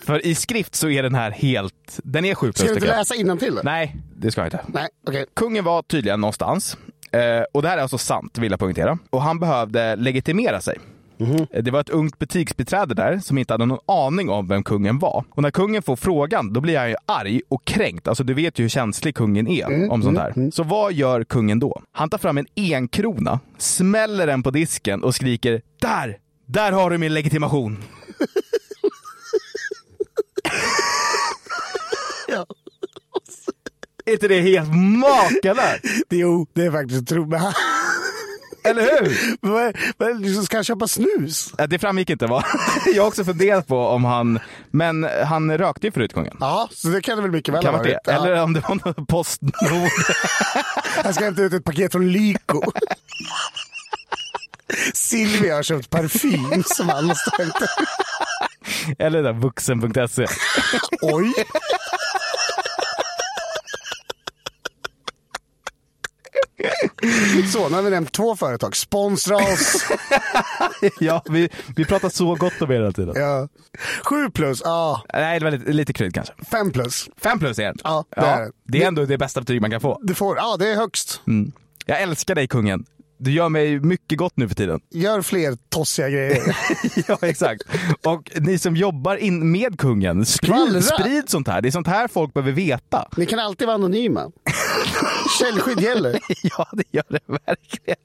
Speaker 1: För i skrift så är den här helt... Den är 7 plus
Speaker 2: Ska du
Speaker 1: tycker
Speaker 2: inte
Speaker 1: jag.
Speaker 2: läsa innantill?
Speaker 1: Nej, det ska jag inte.
Speaker 2: Nej, okej.
Speaker 1: Kungen var tydligen någonstans. Eh, och det här är alltså sant, vill jag poängtera. Och han behövde legitimera sig. Eh, Det var ett ungt butiksbiträde där som inte hade någon aning om vem kungen var. Och när kungen får frågan, då blir han ju arg och kränkt. Alltså du vet ju hur känslig kungen är om sånt här. Så vad gör kungen då? Han tar fram en enkrona, smäller den på disken och skriker “Där! Där har du min legitimation!”
Speaker 2: Ja.
Speaker 1: Är inte det helt makalöst?
Speaker 2: Jo, det är faktiskt otroligt.
Speaker 1: Eller hur?
Speaker 2: Men, men liksom, ska han köpa snus?
Speaker 1: Eh, Det framgick inte va? Jag har också funderat på om han... Men han rökte ju förut kungen.
Speaker 2: Ja, så det kan det väl mycket väl
Speaker 1: Kan
Speaker 2: ha
Speaker 1: vara det.
Speaker 2: varit. Ja.
Speaker 1: Eller om det var någon Postnord.
Speaker 2: Jag ska hämta ut ett paket från Lyko. Silvia har köpt parfym som han måste hämta.
Speaker 1: Eller där vuxen.se.
Speaker 2: Oj! Så, nu har vi nämnt två företag. Sponsra oss.
Speaker 1: Ja, vi, vi pratar så gott om er hela tiden.
Speaker 2: Ja. Sju plus, ja.
Speaker 1: Nej, det var lite, lite krydd kanske.
Speaker 2: Fem plus.
Speaker 1: Fem plus är det.
Speaker 2: Ja, det är det.
Speaker 1: det är ändå det bästa betyg man kan få.
Speaker 2: Du får, ja det är högst.
Speaker 1: Mm. Jag älskar dig kungen. Du gör mig mycket gott nu för tiden.
Speaker 2: Gör fler tossiga grejer.
Speaker 1: Ja, exakt. Och ni som jobbar in med kungen,
Speaker 2: Skvallra.
Speaker 1: sprid, sprid sånt här. Det är sånt här folk behöver veta.
Speaker 2: Ni kan alltid vara anonyma. Källskydd gäller.
Speaker 1: Ja, det gör det verkligen.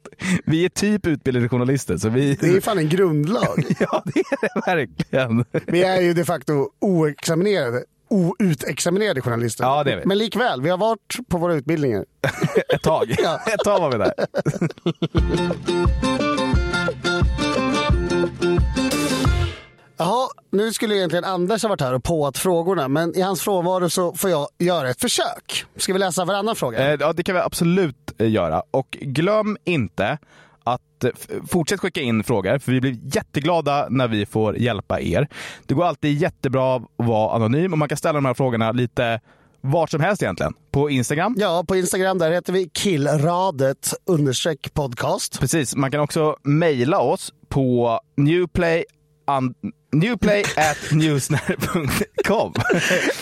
Speaker 1: Vi är typ utbildade journalister, så vi...
Speaker 2: Det är fan en grundlag.
Speaker 1: Ja, det är det verkligen.
Speaker 2: Vi är ju de facto oexaminerade, outexaminerade journalister.
Speaker 1: Ja, det är vi.
Speaker 2: Men likväl, vi har varit på våra utbildningar.
Speaker 1: Ett tag.
Speaker 2: Ja.
Speaker 1: Ett tag var vi där.
Speaker 2: Jaha, nu skulle egentligen Anders ha varit här och påat frågorna, men i hans frånvaro så får jag göra ett försök. Ska vi läsa varannan fråga?
Speaker 1: Eh, Ja, det kan vi absolut eh, göra. Och glöm inte att eh, f- fortsätt skicka in frågor, för vi blir jätteglada när vi får hjälpa er. Det går alltid jättebra att vara anonym och man kan ställa de här frågorna lite vart som helst egentligen. På Instagram.
Speaker 2: Ja, på Instagram där heter vi killradet understreck podcast.
Speaker 1: Precis, man kan också mejla oss på newplay an- Newplay at newsner.com.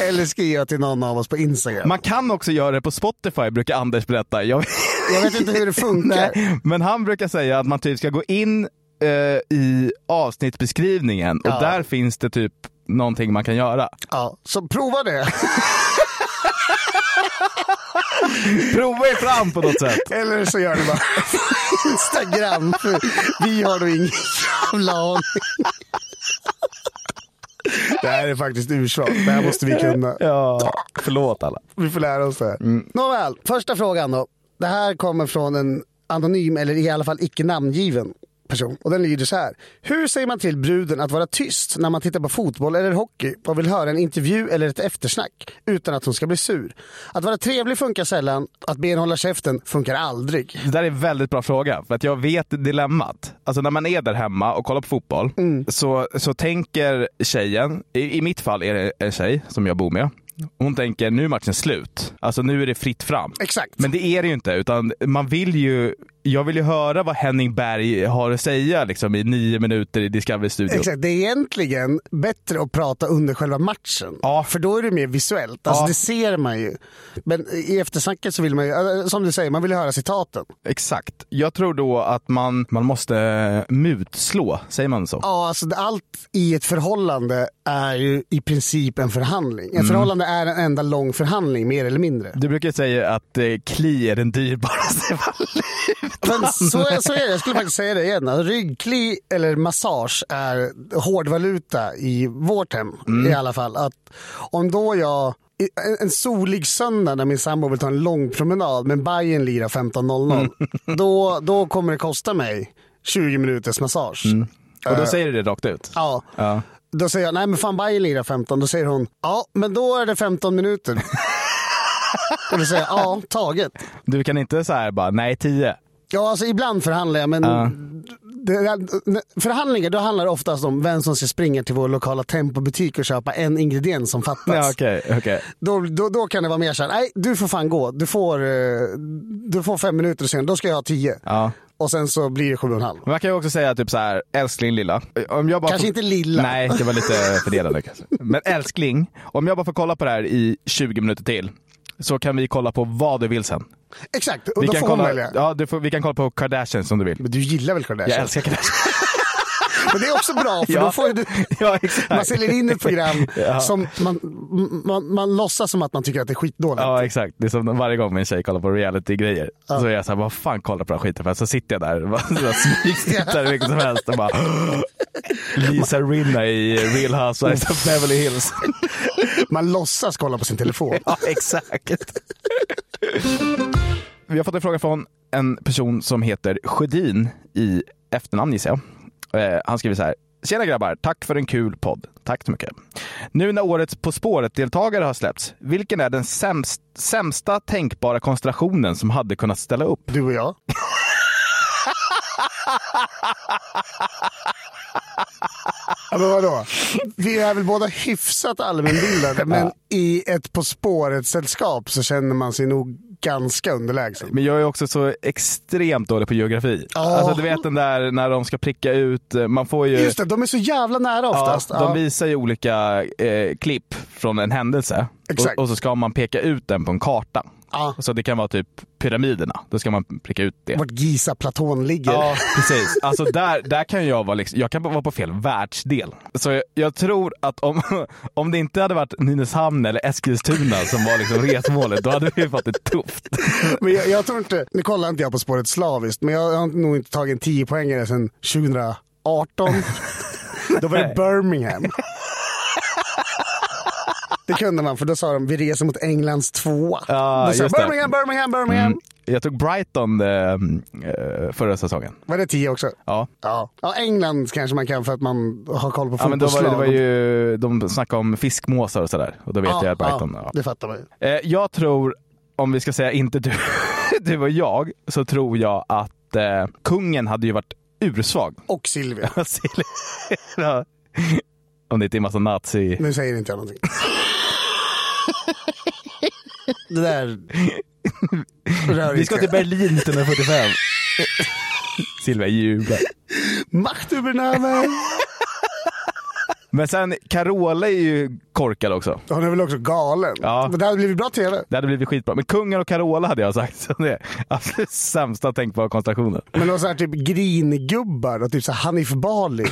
Speaker 2: Eller skriva till någon av oss på Instagram.
Speaker 1: Man kan också göra det på Spotify brukar Anders berätta. Jag
Speaker 2: Jag vet inte hur det funkar.
Speaker 1: Nej, men han brukar säga att man typ ska gå in eh, i avsnittbeskrivningen och
Speaker 2: Ja.
Speaker 1: där finns det typ någonting man kan göra.
Speaker 2: Ja, så prova det.
Speaker 1: Prova er fram på något sätt.
Speaker 2: Eller så gör ni bara Instagram. För vi har nog ingen jävla aning. Det här är faktiskt ursvagt. Det här måste vi kunna.
Speaker 1: Ja, förlåt alla.
Speaker 2: Vi får lära oss det. Mm. Nåväl, första frågan då. Det här kommer från en anonym, eller i alla fall icke namngiven person. Och den lyder så här. Hur säger man till bruden att vara tyst när man tittar på fotboll eller hockey och vill höra en intervju eller ett eftersnack utan att hon ska bli sur? Att vara trevlig funkar sällan, att be henne hålla käften funkar aldrig.
Speaker 1: Det där är en väldigt bra fråga, för att jag vet dilemmat. Alltså när man är där hemma och kollar på fotboll
Speaker 2: Mm.
Speaker 1: så, så tänker tjejen, i, i mitt fall är det en tjej som jag bor med, hon tänker nu är matchen slut. Alltså nu är det fritt fram.
Speaker 2: Exakt.
Speaker 1: Men det är det ju inte, utan man vill ju, jag vill ju höra vad Henning Berg har att säga liksom, i nio minuter i Discovery-studion.
Speaker 2: Exakt, det är egentligen bättre att prata under själva matchen.
Speaker 1: Ja.
Speaker 2: För då är det mer visuellt, alltså,
Speaker 1: Ja.
Speaker 2: det ser man ju. Men i eftersnacket så vill man ju, eh, som du säger, man vill ju höra citaten.
Speaker 1: Exakt. Jag tror då att man, man måste eh, mutslå, säger man så?
Speaker 2: Ja, alltså det- allt i ett förhållande är ju i princip en förhandling. Ett förhållande är en enda lång förhandling, mer eller mindre.
Speaker 1: Du brukar säga att eh, kli är den dyrbaraste valutan.
Speaker 2: Men så, är- så är det, jag skulle faktiskt säga det igen. Alltså, Ryggkli eller massage är hårdvaluta i vårt hem i alla fall. Att om då jag i- en- en solig söndag när min sambo vill ta en lång promenad men Bayern lirar 15.00. Då, då kommer det kosta mig 20 minuters massage.
Speaker 1: Och
Speaker 2: Eh.
Speaker 1: då säger du det rakt ut?
Speaker 2: Ja. Då säger jag, nej men fan Bayern lirar 15. Då säger hon, ja men då är det 15 minuter. Och då säger jag, ja taget.
Speaker 1: Du kan inte så här bara, nej tio.
Speaker 2: Ja alltså ibland förhandlar jag men det- Förhandlingar, då handlar det oftast om vem som ska springa till vår lokala Tempobutik och köpa en ingrediens som fattas.
Speaker 1: Ja, okej, okej.
Speaker 2: då, då, då kan det vara mer såhär, nej du får fan gå. Du får, eh, du får fem minuter sen, då ska jag ha tio.
Speaker 1: Ja.
Speaker 2: Och sen så blir det sju och en halv.
Speaker 1: Men man kan ju också säga typ så här, älskling lilla. Om jag bara
Speaker 2: Kanske
Speaker 1: får-
Speaker 2: inte lilla.
Speaker 1: Nej, det var lite fördelande kanske. Men älskling, om jag bara får kolla på det här i 20 minuter till så kan vi kolla på vad du vill sen.
Speaker 2: Exakt, och
Speaker 1: Vi
Speaker 2: då
Speaker 1: kan
Speaker 2: får man
Speaker 1: kolla,
Speaker 2: välja.
Speaker 1: ja, du får, vi kan kolla på Kardashians om du vill.
Speaker 2: Men du gillar väl Kardashian?
Speaker 1: Jag älskar Kardashians.
Speaker 2: Men det är också bra för då får ju du...
Speaker 1: ja, exakt.
Speaker 2: Man säljer in ett program
Speaker 1: Ja.
Speaker 2: som man, man, man låtsas som att man tycker att det är skitdåligt.
Speaker 1: Ja exakt, det är som varje gång min tjej kollar på reality-grejer så är jag såhär, vad fan kollar på den här skiten för? Så sitter jag där och bara smygtittar hur mycket som helst och bara Lisa Rinna i Real Housewives of Beverly Hills.
Speaker 2: Man låtsas kolla på sin telefon.
Speaker 1: Ja, exakt. Vi har fått en fråga från en person som heter Sjödin i efternamn gissar jag. Eh, han skriver så här. Tjena grabbar, tack för en kul podd. Tack så mycket. Nu när årets På spåret-deltagare har släppts, vilken är den sämst, sämsta tänkbara konstellationen som hade kunnat ställa upp?
Speaker 2: Du och jag. Ja, men vadå? Vi är väl båda hyfsat allmänbildade, men i ett På spåret-sällskap så känner man sig nog ganska underlägsen.
Speaker 1: Men jag är också så extremt dålig på geografi. Alltså du vet den där när de ska pricka ut, eh, man får ju...
Speaker 2: Just det, de är så jävla nära oftast.
Speaker 1: Ja, de
Speaker 2: Ja.
Speaker 1: visar ju olika eh, klipp från en händelse
Speaker 2: Exakt.
Speaker 1: Och, och så ska man peka ut den på en karta.
Speaker 2: Ja.
Speaker 1: Så det kan vara typ pyramiderna, då ska man pricka ut det.
Speaker 2: Vart Giza-platån ligger.
Speaker 1: Ja, precis. Alltså där, där kan jag vara liksom, jag kan vara på fel världsdel. Så jag, jag tror att om, om det inte hade varit Nynäshamn eller Eskilstuna som var liksom resmålet, då hade vi fått det tufft.
Speaker 2: Men jag, jag tror inte, nu kollar inte jag på spåret slaviskt, men jag har nog inte tagit en 10 poängare sedan 2018. då var det Birmingham. Det kunde man, för då sa de vi reser mot Englands tvåa.
Speaker 1: Ja,
Speaker 2: då sa jag,
Speaker 1: just det. Mm.
Speaker 2: Birmingham, Birmingham, Birmingham.
Speaker 1: Jag tog Brighton eh, eh, förra säsongen.
Speaker 2: Var det 10 också?
Speaker 1: Ja.
Speaker 2: Ja. ja, England kanske man kan för att man har koll på
Speaker 1: Ja, men då var,
Speaker 2: fotbollslag.
Speaker 1: det var ju, de snackade om fiskmåsar och sådär. Och då vet
Speaker 2: Ja,
Speaker 1: jag att Brighton...
Speaker 2: ja,
Speaker 1: ja.
Speaker 2: Det fattar man ju.
Speaker 1: Eh, jag tror, om vi ska säga inte du, du och jag, så tror jag att eh, kungen hade ju varit ursvag.
Speaker 2: Och Silvia.
Speaker 1: Ja. om det inte är massa nazi...
Speaker 2: Nu säger inte jag någonting. det där rör
Speaker 1: Vi ska
Speaker 2: inte.
Speaker 1: till Berlin 1945. Silvia jublar.
Speaker 2: Macht über Namen.
Speaker 1: Men sen, Carola är ju korkad också.
Speaker 2: Hon är väl också galen.
Speaker 1: Ja.
Speaker 2: Men det hade blivit bra tv.
Speaker 1: Det hade blivit skitbra. Men kungen och Carola hade jag sagt. Så det är absolut sämsta tänkbara konstellationen.
Speaker 2: Men någon sån här typ gringubbar och typ så här Hanif Bali.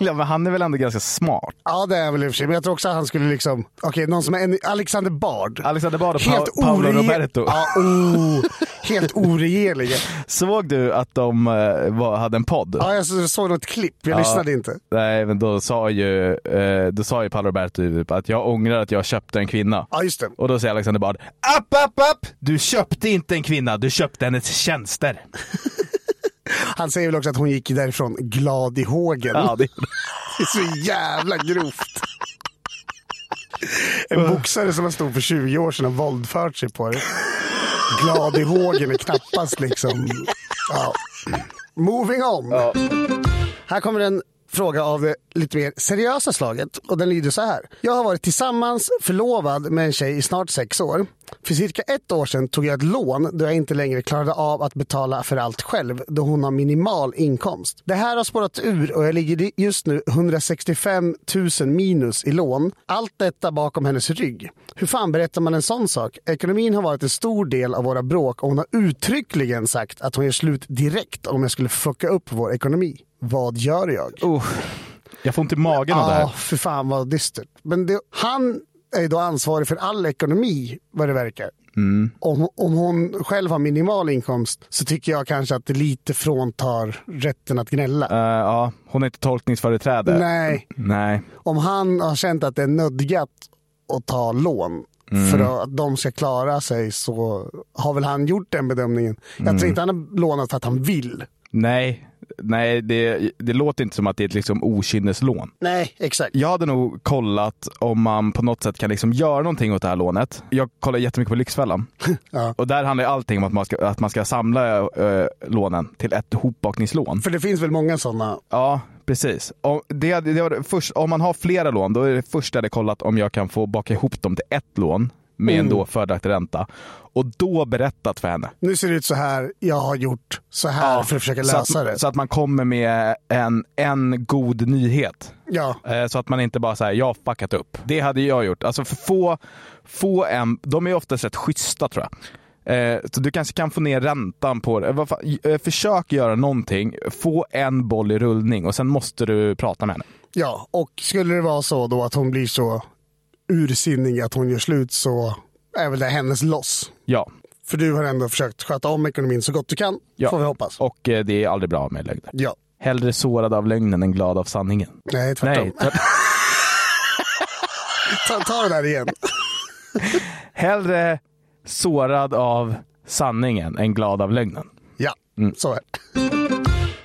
Speaker 1: Ja, men han är väl ändå ganska smart?
Speaker 2: ja det är väl i och för sig. Men jag tror också att han skulle liksom... Okej, någon som är en, Alexander Bard.
Speaker 1: Alexander Bard och pa- Paolo
Speaker 2: orege-
Speaker 1: Roberto.
Speaker 2: Ja, oh, helt oregeliga.
Speaker 1: Såg du att de eh, var, hade en podd?
Speaker 2: Ja, jag så- såg något klipp. Jag lyssnade inte.
Speaker 1: Nej, men då sa ju, eh, då sa ju Paolo Roberto typ att jag ångrar att jag köpte en kvinna.
Speaker 2: Ja, just det.
Speaker 1: Och då säger Alexander Bard, app, app, app! Du köpte inte en kvinna, du köpte hennes tjänster.
Speaker 2: Han säger väl också att hon gick därifrån glad i hågen.
Speaker 1: Ja, det,
Speaker 2: Det är så jävla grovt. En boxare som var stor för 20 år sedan har våldfört sig på det. Glad i hågen är knappast liksom... Ja. Moving on. Här kommer en fråga av det lite mer seriösa slaget och den lyder så här. Jag har varit tillsammans förlovad med en tjej i snart sex år. För cirka ett år sedan tog jag ett lån då jag inte längre klarade av att betala för allt själv då hon har minimal inkomst. Det här har spårat ur och jag ligger just nu 165 000 minus i lån. Allt detta bakom hennes rygg. Hur fan berättar man en sån sak? Ekonomin har varit en stor del av våra bråk och hon har uttryckligen sagt att hon gör slut direkt om jag skulle fucka upp vår ekonomi. Vad gör jag?
Speaker 1: oh, jag får ont i magen av det
Speaker 2: Ja,
Speaker 1: här.
Speaker 2: för fan vad dystert. Men det, han är ju då ansvarig för all ekonomi, vad det verkar.
Speaker 1: Mm.
Speaker 2: Om, om hon själv har minimal inkomst så tycker jag kanske att det lite fråntar rätten att gnälla.
Speaker 1: Eh, ja, hon är inte tolkningsföreträde.
Speaker 2: Nej,
Speaker 1: Nej.
Speaker 2: om han har känt att det är nödgat att ta lån
Speaker 1: Mm.
Speaker 2: för att de ska
Speaker 1: Mm.
Speaker 2: klara sig så har väl han gjort den bedömningen. Jag tror inte han har lånat för att han vill.
Speaker 1: Nej, nej det, det låter inte som att det är ett liksom okynneslån.
Speaker 2: Nej, exakt.
Speaker 1: Jag hade nog kollat om man på något sätt kan liksom göra någonting åt det här lånet. Jag kollar jättemycket på Lyxfällan.
Speaker 2: Ja.
Speaker 1: Och där handlar ju allting om att man ska, att man ska samla eh, lånen till ett hopbakningslån.
Speaker 2: För det finns väl många sådana.
Speaker 1: Ja, precis. Om, det, hade- det var det först, om man har flera lån, då är det första jag hade kollat om jag kan få baka ihop dem till ett lån med
Speaker 2: Mm.
Speaker 1: en då fördelaktig ränta. Och då berättat för henne.
Speaker 2: Nu ser det ut så här. Jag har gjort så här för att försöka lösa
Speaker 1: så att,
Speaker 2: det.
Speaker 1: Så att man kommer med en, en god nyhet.
Speaker 2: ja.
Speaker 1: Eh, Så att man inte bara säger jag har fuckat upp. Det hade jag gjort. Alltså för få, få en, de är ju oftast rätt schyssta tror jag. Eh, Så du kanske kan få ner räntan på det. Vad fan, eh, Försök göra någonting, få en boll i rullning och sen måste du prata med henne.
Speaker 2: ja, och skulle det vara så då att hon blir så ursinnig att hon gör slut så är väl det hennes loss.
Speaker 1: Ja.
Speaker 2: För du har ändå försökt sköta om ekonomin så gott du kan,
Speaker 1: ja.
Speaker 2: får vi hoppas.
Speaker 1: Och eh, det är aldrig bra med lögner.
Speaker 2: Ja.
Speaker 1: Hellre sårad av lögnen än glad av sanningen.
Speaker 2: Nej, tvärtom.
Speaker 1: Nej, tvärt-
Speaker 2: Ta, ta det där igen.
Speaker 1: hellre sårad av sanningen än glad av lögnen.
Speaker 2: Ja,
Speaker 1: Mm.
Speaker 2: så är det.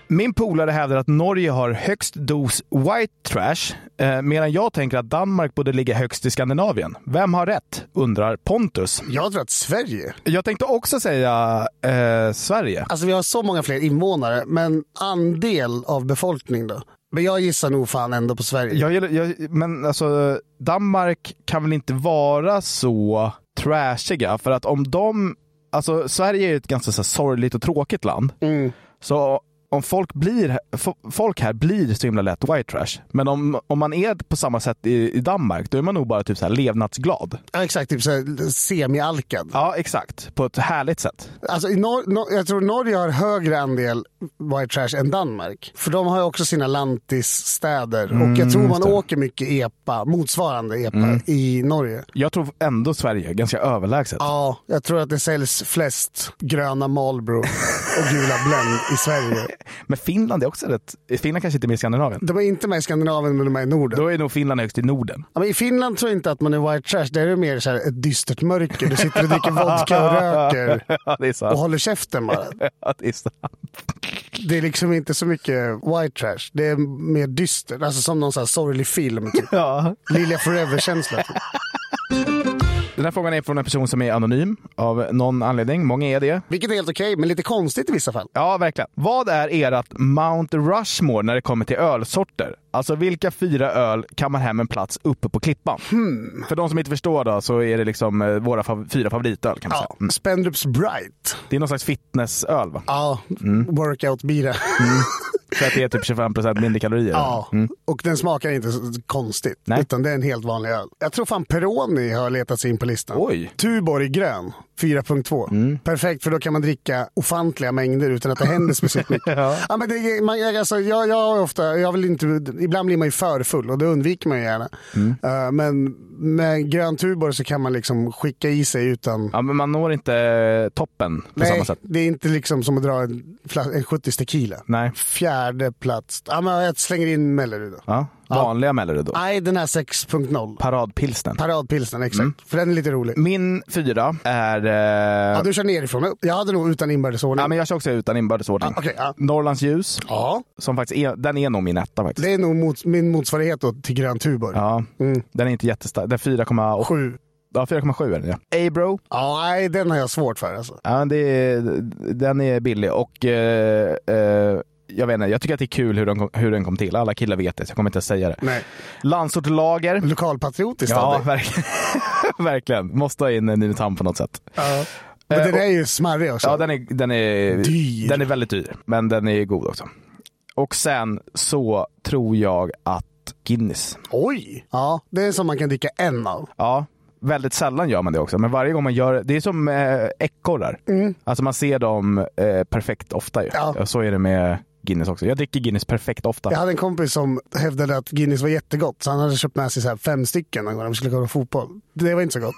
Speaker 1: Min polare hävdar att Norge har högst dos white trash, eh, medan jag tänker att Danmark borde ligga högst i Skandinavien. Vem har rätt? undrar Pontus.
Speaker 2: Jag tror att Sverige,
Speaker 1: Jag tänkte också säga eh, Sverige.
Speaker 2: alltså vi har så många fler invånare, men andel av befolkning då? Men jag gissar nog fan ändå på Sverige.
Speaker 1: Jag, gillar- jag, men alltså, Danmark kan väl inte vara så trashiga? För att om de... Alltså, Sverige är ju ett ganska så här, sorgligt och tråkigt land.
Speaker 2: Mm.
Speaker 1: Så om folk, blir, fo- folk här blir så himla lätt white trash. Men om, om man är på samma sätt i, i Danmark, då är man nog bara typ så här levnadsglad.
Speaker 2: Ja, exakt, typ så här semi-alkad.
Speaker 1: Ja, exakt. På ett härligt sätt.
Speaker 2: Alltså, i Nor- Nor- jag tror Norge har högre andel white trash än Danmark. För de har ju också sina lantisstäder och jag tror man åker mycket EPA, motsvarande EPA, i Norge.
Speaker 1: Jag tror ändå Sverige är ganska överlägset.
Speaker 2: Ja, jag tror att det säljs flest gröna Marlboro och gula Blend i Sverige.
Speaker 1: Men Finland är också rätt... Finland kanske inte är med i Skandinavien.
Speaker 2: De är inte med i Skandinavien, men de är i Norden.
Speaker 1: Då är nog Finland högst i Norden.
Speaker 2: Ja, men I Finland tror jag inte att man är white trash. Där är det mer så här ett dystert mörker. Du sitter och dricker vodka och röker
Speaker 1: ja, det är
Speaker 2: och
Speaker 1: sant.
Speaker 2: håller käften bara.
Speaker 1: Ja, det är sant.
Speaker 2: Det är liksom inte så mycket white trash. Det är mer dystert. Alltså som någon så här sorglig film. Typ.
Speaker 1: Ja.
Speaker 2: Lilja Forever-känsla. typ.
Speaker 1: Den här frågan är från en person som är anonym av någon anledning. Många är det.
Speaker 2: Vilket är helt okej, men lite konstigt i vissa fall.
Speaker 1: Ja, verkligen. Vad är ert Mount Rushmore när det kommer till ölsorter? Alltså vilka fyra öl kammar hem en plats uppe på klippan?
Speaker 2: Hmm.
Speaker 1: För de som inte förstår då så är det liksom eh, våra fav- fyra favoritöl kan man
Speaker 2: Ja,
Speaker 1: säga. Mm.
Speaker 2: Spendrups Bright.
Speaker 1: Det är någon slags fitnessöl va?
Speaker 2: Ja, workout-bira.
Speaker 1: För att det är typ 25% mindre kalorier.
Speaker 2: Ja, och den smakar inte så konstigt.
Speaker 1: Nej.
Speaker 2: Utan det är en helt vanlig öl. Jag tror fan Peroni har letat sig in på listan.
Speaker 1: Oj.
Speaker 2: Tuborg grön, 4.2.
Speaker 1: Mm.
Speaker 2: Perfekt, för då kan man dricka ofantliga mängder utan att det händer speciellt mycket. ja. men det, är- man, jag- alltså, jag, jag, är ofta, jag vill inte, ibland blir man ju för full och det undviker man ju gärna.
Speaker 1: Mm.
Speaker 2: Eh, men med grön Tuborg så kan man liksom skicka i sig utan...
Speaker 1: Ja, men man når inte eh, toppen på samma
Speaker 2: Nej,
Speaker 1: sätt.
Speaker 2: det är inte liksom som att dra en, flas- en 70 tequila.
Speaker 1: Nej.
Speaker 2: Fjärde plats. Ja, men jag slänger in Mellerud då.
Speaker 1: Ja. Vanliga Mellerud då.
Speaker 2: Nej, den här 6.0.
Speaker 1: Paradpilsnen.
Speaker 2: Paradpilsnern, exakt.
Speaker 1: Mm.
Speaker 2: För den är lite rolig.
Speaker 1: Min fyra är...
Speaker 2: Ja,
Speaker 1: Eh...
Speaker 2: du kör nerifrån upp. Jag hade nog utan inbördes ordning.
Speaker 1: Ja, men jag kör också utan inbördes ordning.
Speaker 2: Ah, okej, ja.
Speaker 1: Norrlands ljus,
Speaker 2: Ja,
Speaker 1: som faktiskt är, den är nog min etta faktiskt.
Speaker 2: det är nog mot, min motsvarighet då till grön Tuborg.
Speaker 1: Ja, den är inte jättestark. Den är 4,8.
Speaker 2: Sju.
Speaker 1: Ja, 4,7 är den ja. Abro,
Speaker 2: Ja, nej, den har jag svårt för alltså.
Speaker 1: ja, det är, den är billig och eh, eh, jag vet inte, jag tycker att det är kul hur den, kom, hur den kom till. Alla killar vet det, så jag kommer inte säga det.
Speaker 2: Nej. Mm,
Speaker 1: Landsort Lager.
Speaker 2: Lokalpatriotiskt
Speaker 1: Ja,
Speaker 2: av dig.
Speaker 1: verkligen. verkligen. Måste ha in Nynäshamn på något sätt.
Speaker 2: Ja. Men
Speaker 1: Eh,
Speaker 2: den är ju smarrig också.
Speaker 1: Ja, den är, den är,
Speaker 2: Dyr.
Speaker 1: Den är väldigt dyr, men den är god också. Och sen så tror jag att Guinness.
Speaker 2: Oj! Ja, det är som man kan dricka en av.
Speaker 1: Ja, väldigt sällan gör man det också, men varje gång man gör det, det är som eh, ekorrar. Alltså man ser dem eh, perfekt ofta ju.
Speaker 2: Mm. Ja.
Speaker 1: Och så är det med Guinness också. Jag dricker Guinness perfekt ofta.
Speaker 2: Jag hade en kompis som hävdade att Guinness var jättegott, så han hade köpt med sig så här fem stycken någon gång när vi skulle kolla på fotboll. Det var inte så gott.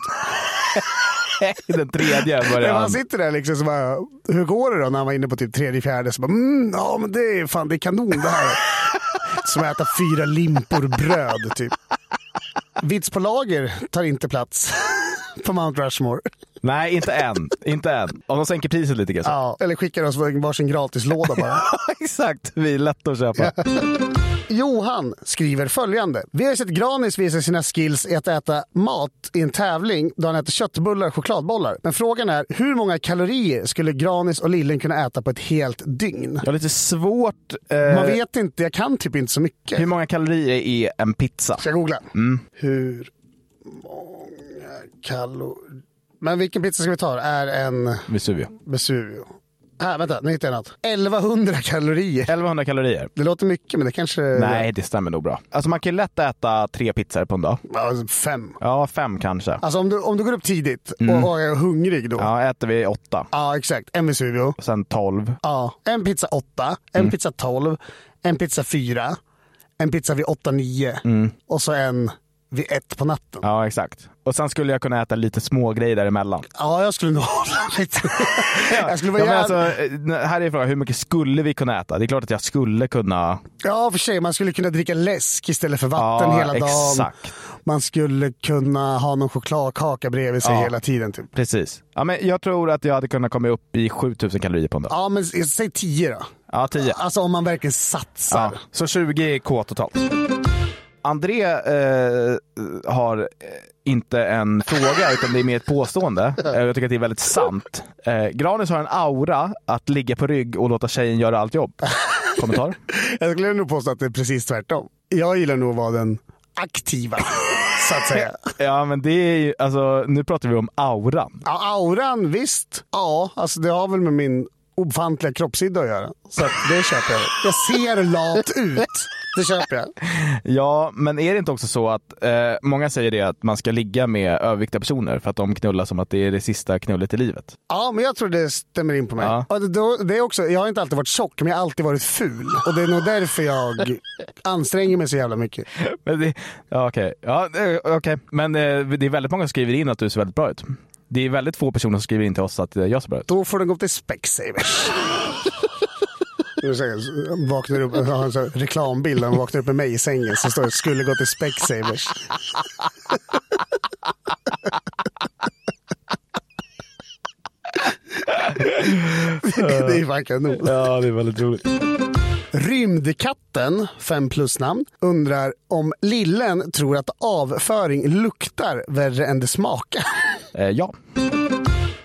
Speaker 1: Den tredje
Speaker 2: Men
Speaker 1: börjar han.
Speaker 2: man sitter där liksom så bara, hur går det då när han var inne på typ tredje, fjärde? Så bara, mm, ja men det är fan, det är kanon det här. Som att äta fyra limpor bröd typ. Vits på lager tar inte plats på Mount Rushmore.
Speaker 1: Nej, inte än. inte än. Om de sänker priset lite kanske.
Speaker 2: Ja, eller skickar oss varsin gratislåda bara.
Speaker 1: Exakt, vi är lätta att köpa.
Speaker 2: Johan skriver följande. Vi har ju sett Granis visa sina skills i att äta mat i en tävling då han äter köttbullar och chokladbollar. Men frågan är hur många kalorier skulle Granis och Lillen kunna äta på ett helt dygn?
Speaker 1: Jag har lite svårt... Eh,
Speaker 2: Man vet inte, jag kan typ inte så mycket.
Speaker 1: Hur många Mm. kalorier är en pizza?
Speaker 2: Ska jag googla? Hur många kalorier... Men vilken pizza ska vi ta? Är en
Speaker 1: Vesuvio.
Speaker 2: Vesuvio? Här, vänta, nu hittade jag något. 1100 kalorier.
Speaker 1: 1100 kalorier.
Speaker 2: Det låter mycket, men det kanske...
Speaker 1: Nej, det stämmer nog bra. Alltså man kan ju lätt äta tre pizzor på en dag.
Speaker 2: Alltså, fem.
Speaker 1: Ja, fem kanske.
Speaker 2: Alltså om du, om du går upp tidigt och, och är hungrig då. Ja,
Speaker 1: Mm. Ja, äter vi åtta.
Speaker 2: exakt. En Vesuvio.
Speaker 1: Och sen tolv.
Speaker 2: Ja. En pizza 8, en
Speaker 1: Mm.
Speaker 2: pizza 12, en pizza 4, en pizza vid 8-9
Speaker 1: Mm.
Speaker 2: och så en vid 1 på natten. Ja,
Speaker 1: Ja, exakt. Och sen skulle jag kunna äta lite små grejer däremellan.
Speaker 2: jag skulle nog hålla mig till Jag skulle vara
Speaker 1: ja, men
Speaker 2: jävla...
Speaker 1: alltså, eh, här är frågan, hur mycket skulle vi kunna äta? Det är klart att jag skulle kunna...
Speaker 2: Ja, för sig. Man skulle kunna dricka läsk istället för vatten
Speaker 1: Ja,
Speaker 2: hela dagen.
Speaker 1: exakt.
Speaker 2: Man skulle kunna ha någon chokladkaka bredvid sig hela tiden. Typ.
Speaker 1: Precis. Ja, men jag tror att jag hade kunnat komma upp i 7000 kalorier på en dag.
Speaker 2: Ja, men s- säg 10 då.
Speaker 1: Ja, tio.
Speaker 2: Alltså om man verkligen satsar.
Speaker 1: Ja, så 20 är K totalt. André eh, har eh, inte en fråga, utan det är mer ett påstående. Eh, Jag tycker att det är väldigt sant. Eh, Granis har en aura att ligga på rygg och låta tjejen göra allt jobb. Kommentar?
Speaker 2: Jag skulle nog påstå att det är precis tvärtom. Jag gillar nog att vara den aktiva, så att säga.
Speaker 1: Ja, men det är ju, alltså, nu pratar vi om auran.
Speaker 2: Ja, auran, visst. Ja, alltså det har väl med min ofantliga kroppshydda att göra. Så att det köper jag. Jag ser lat ut. Det köper jag.
Speaker 1: Ja, men är det inte också så att eh, många säger det att man ska ligga med överviktiga personer för att de knullar som att det är det sista knullet i livet?
Speaker 2: Ja, men jag tror det stämmer in på mig.
Speaker 1: Ja.
Speaker 2: Och det- då- Det är också, jag har inte alltid varit tjock, men jag har alltid varit ful. Och det är nog därför jag anstränger mig så jävla mycket.
Speaker 1: Men det, ja, okej. Ja, eh, okej. Men eh, det är väldigt många som skriver in att du ser väldigt bra ut. Det är väldigt få personer som skriver in till oss att eh, jag ser bra ut.
Speaker 2: Då får den gå upp till Specsavers. Nu säger jag, Vaknar upp, har en sån här reklambild när han vaknar upp med mig i sängen så står det skulle gå till Specsavers. det det är fan kanon.
Speaker 1: Ja, det är väldigt roligt.
Speaker 2: Rymdkatten, 5 plus namn, undrar om lillen tror att avföring luktar värre än det smakar.
Speaker 1: Eh, ja.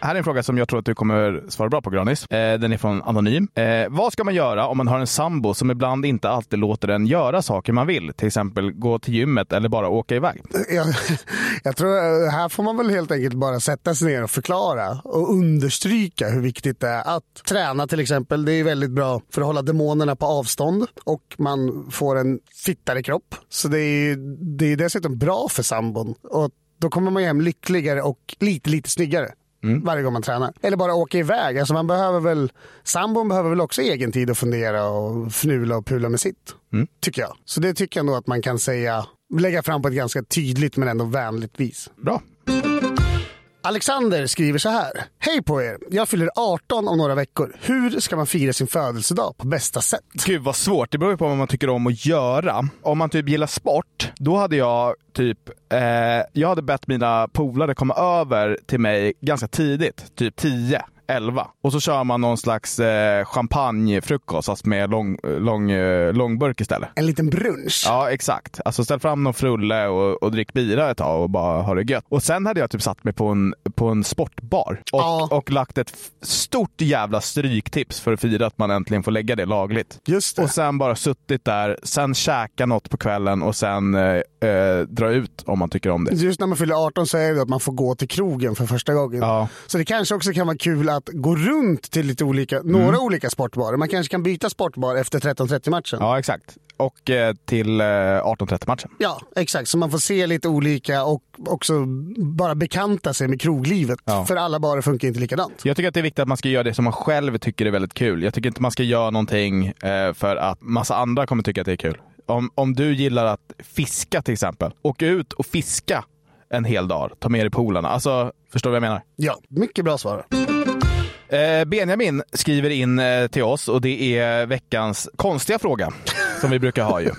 Speaker 1: Här är en fråga som jag tror att du kommer svara bra på, Granis. Eh, den är från Anonym. Eh, vad ska man göra om man har en sambo som ibland inte alltid låter en göra saker man vill? Till exempel gå till gymmet eller bara åka iväg.
Speaker 2: jag, jag tror eh, här får man väl helt enkelt bara sätta sig ner och förklara och understryka hur viktigt det är att träna till exempel. Det är väldigt bra för att hålla demonerna på avstånd och man får en fittare kropp. Så det är, ju- det är dessutom bra för sambon. Och då kommer man ju hem lyckligare och lite, lite snyggare. Varje gång man tränar. Eller bara åka iväg. Alltså man behöver väl, sambon behöver väl också egen tid att fundera och fnula och pula med sitt. Tycker jag. Så det tycker jag nog att man kan säga, lägga fram på ett ganska tydligt men ändå vänligt vis.
Speaker 1: Bra.
Speaker 2: Alexander skriver så här. Hej på er! Jag fyller 18 om några veckor. Hur ska man fira sin födelsedag på bästa sätt?
Speaker 1: Gud vad svårt. Det beror ju på vad man tycker om att göra. Om man typ gillar sport, då hade jag typ... Eh, jag hade bett mina polare komma över till mig ganska tidigt. Typ 10, 11. Och så kör man någon slags eh, champagnefrukost, fast med lång, lång, eh, långburk istället.
Speaker 2: En liten brunch?
Speaker 1: Ja, exakt. Alltså ställ fram någon frulle och, och drick bira ett tag och bara ha det gött. Och sen hade jag typ satt mig på en, på en sportbar och,
Speaker 2: Ja.
Speaker 1: och lagt ett f- stort jävla stryktips för att fira att man äntligen får lägga det lagligt.
Speaker 2: Just det.
Speaker 1: Och sen bara suttit där, sen käka något på kvällen och sen eh, eh, dra ut om man tycker om det.
Speaker 2: Just när man fyller 18 så är det att man får gå till krogen för första gången.
Speaker 1: Ja.
Speaker 2: Så det kanske också kan vara kul att gå runt till lite olika, några
Speaker 1: Mm.
Speaker 2: olika sportbarer. Man kanske kan byta sportbar efter 13.30-matchen.
Speaker 1: Ja, exakt. Och eh, till eh, 18.30-matchen.
Speaker 2: Ja, exakt. Så man får se lite olika och också bara bekanta sig med kroglivet.
Speaker 1: Ja.
Speaker 2: För alla barer funkar inte likadant.
Speaker 1: Jag tycker att det är viktigt att man ska göra det som man själv tycker är väldigt kul. Jag tycker inte man ska göra någonting eh, för att massa andra kommer tycka att det är kul. Om, om du gillar att fiska till exempel, åk ut och fiska en hel dag. Ta med dig polarna. Alltså, förstår du vad jag menar?
Speaker 2: Ja, mycket bra svar.
Speaker 1: Eh, Benjamin skriver in eh, till oss och det är veckans konstiga fråga som vi brukar ha ju.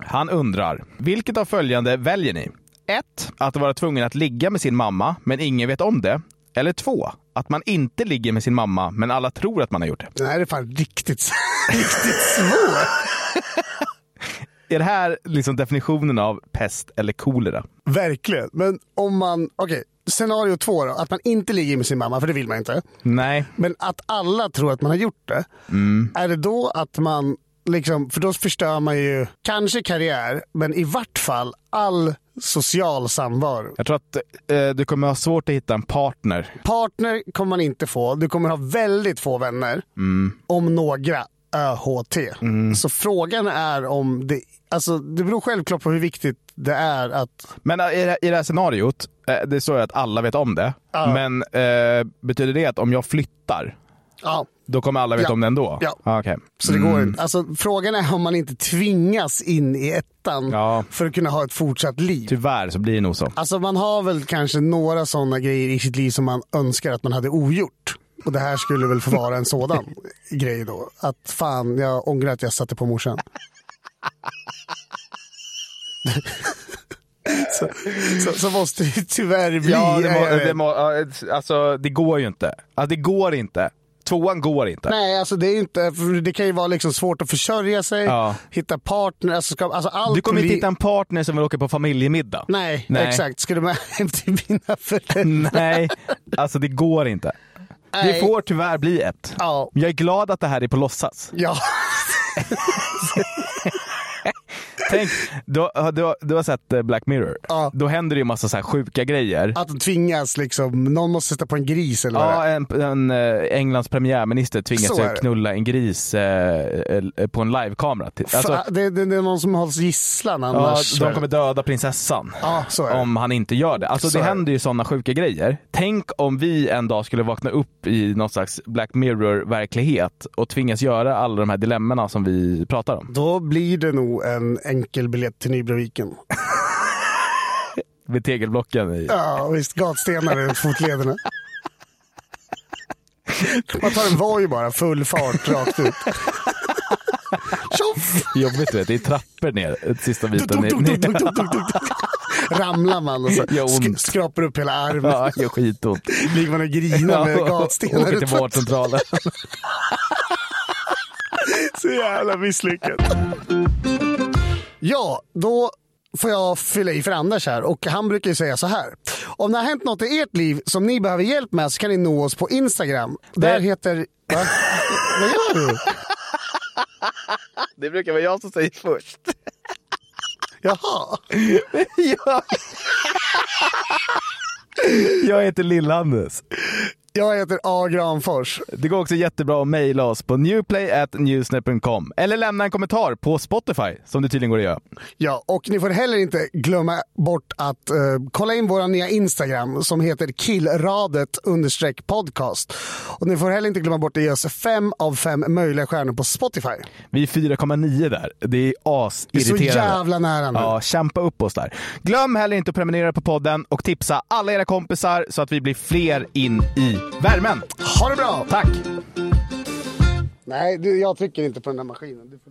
Speaker 1: Han undrar, vilket av följande väljer ni? Ett, att vara tvungen att ligga med sin mamma, men ingen vet om det. Eller två, att man inte ligger med sin mamma, men alla tror att man har gjort det.
Speaker 2: Den här är fan riktigt, riktigt svår.
Speaker 1: Är det här liksom definitionen av pest eller kolera?
Speaker 2: Verkligen. Men om man... Okej, scenario två då. Att man inte ligger med sin mamma, för det vill man inte.
Speaker 1: Nej.
Speaker 2: Men att alla tror att man har gjort det. Är det då att man... Liksom, för då förstör man ju kanske karriär, men i vart fall all social samvaro.
Speaker 1: Jag tror att eh, du kommer ha svårt att hitta en partner.
Speaker 2: Partner kommer man inte få. Du kommer ha väldigt få vänner. Om några. ÖHT. Så frågan är om det... Alltså, det beror självklart på hur viktigt det är att
Speaker 1: Men eh, i det, i det här scenariot, eh, det står ju att alla vet om det. Men eh, betyder det att om jag flyttar,
Speaker 2: Ja,
Speaker 1: då kommer alla veta
Speaker 2: Ja.
Speaker 1: om det ändå?
Speaker 2: Ja.
Speaker 1: Ah, okej.
Speaker 2: så det går inte. Alltså, frågan är om man inte tvingas in i ettan
Speaker 1: Ja.
Speaker 2: för att kunna ha ett fortsatt liv.
Speaker 1: Tyvärr så blir det nog så.
Speaker 2: Alltså man har väl kanske några sådana grejer i sitt liv som man önskar att man hade ogjort. Och det här skulle väl få vara en sådan grej då. Att fan, jag ångrar att jag satte på morsan. så, så, så måste det tyvärr bli.
Speaker 1: Ja, det,
Speaker 2: jag
Speaker 1: må,
Speaker 2: vet.
Speaker 1: det, må, ja, alltså, det går ju inte. Alltså, det går inte. Tvåan går inte.
Speaker 2: Nej, alltså det, är inte, för det kan ju vara liksom svårt att försörja sig,
Speaker 1: Ja.
Speaker 2: hitta partner. Alltså ska, alltså allt
Speaker 1: Du kommer inte
Speaker 2: blir-
Speaker 1: hitta en partner som vill åka på familjemiddag.
Speaker 2: Nej,
Speaker 1: Nej.
Speaker 2: exakt. Ska du med hem till mina föräldrar?
Speaker 1: Nej, alltså det går inte. Det
Speaker 2: Nej.
Speaker 1: får tyvärr bli ett.
Speaker 2: Ja.
Speaker 1: Jag är glad att det här är på låtsas.
Speaker 2: Ja.
Speaker 1: Tänk, du, har- du, har- du har sett eh, Black Mirror.
Speaker 2: Ja.
Speaker 1: Då händer det ju massa så här sjuka grejer.
Speaker 2: Att de tvingas liksom, någon måste sätta på en gris eller vad det
Speaker 1: Ja,
Speaker 2: är.
Speaker 1: en, en eh, Englands premiärminister
Speaker 2: Så
Speaker 1: tvingas
Speaker 2: är
Speaker 1: ju
Speaker 2: det.
Speaker 1: knulla en gris eh, eh, på en livekamera. Till- Alltså,
Speaker 2: Fa- det, det, det är någon som hålls gisslan
Speaker 1: ja,
Speaker 2: annars.
Speaker 1: de kommer döda prinsessan.
Speaker 2: Ja, så är det.
Speaker 1: om han inte gör det. Alltså
Speaker 2: Så är
Speaker 1: det
Speaker 2: det.
Speaker 1: händer ju sådana sjuka grejer. Tänk om vi en dag skulle vakna upp i någon slags Black Mirror-verklighet och tvingas göra alla de här dilemmorna som vi pratar om.
Speaker 2: Då blir det nog en enkel biljett till Nybroviken.
Speaker 1: Vid tegelblocken. I...
Speaker 2: Ja, visst. Gatstenar runt fotlederna. Man tar en Voi bara, full fart rakt ut. Tjoff!
Speaker 1: Jobbigt vet, du, det är trappor ner eh, sista biten.
Speaker 2: Dunk, dunk,
Speaker 1: ner-
Speaker 2: dunk, dunk, dunk, dunk, dunk. Ramlar man och så
Speaker 1: Gör ont.
Speaker 2: sk- skrapar upp hela armen.
Speaker 1: Ja, det gör skitont.
Speaker 2: Ligger man och grinar med gatstenar
Speaker 1: Åker till
Speaker 2: ut för att-
Speaker 1: vårdcentralen.
Speaker 2: Så jävla misslyckat. Ja, då får jag fylla i för Anders här och han brukar ju säga så här. Om det har hänt något i ert liv som ni behöver hjälp med så kan ni nå oss på Instagram. Där
Speaker 1: Det-
Speaker 2: heter... Va? Vad gör du?
Speaker 1: Det brukar vara jag som säger först.
Speaker 2: Jaha.
Speaker 1: Jag, jag heter Lill-Anders.
Speaker 2: Jag heter A. Granfors.
Speaker 1: Det går också jättebra att mejla oss på newplay.newsnet.com eller lämna en kommentar på Spotify som det tydligen går att göra.
Speaker 2: Ja, och ni får heller inte glömma bort att eh, kolla in vår nya Instagram som heter killradet understreck podcast. Och ni får heller inte glömma bort att ge oss fem av fem möjliga stjärnor på Spotify.
Speaker 1: Vi är 4,9 där. Det är
Speaker 2: Det är så
Speaker 1: asirriterande.
Speaker 2: jävla nära nu.
Speaker 1: Ja, kämpa upp oss där. Glöm heller inte att prenumerera på podden och tipsa alla era kompisar så att vi blir fler in i värmen.
Speaker 2: Ha det bra!
Speaker 1: Tack!
Speaker 2: Nej, du, jag trycker inte på den där maskinen. Du får...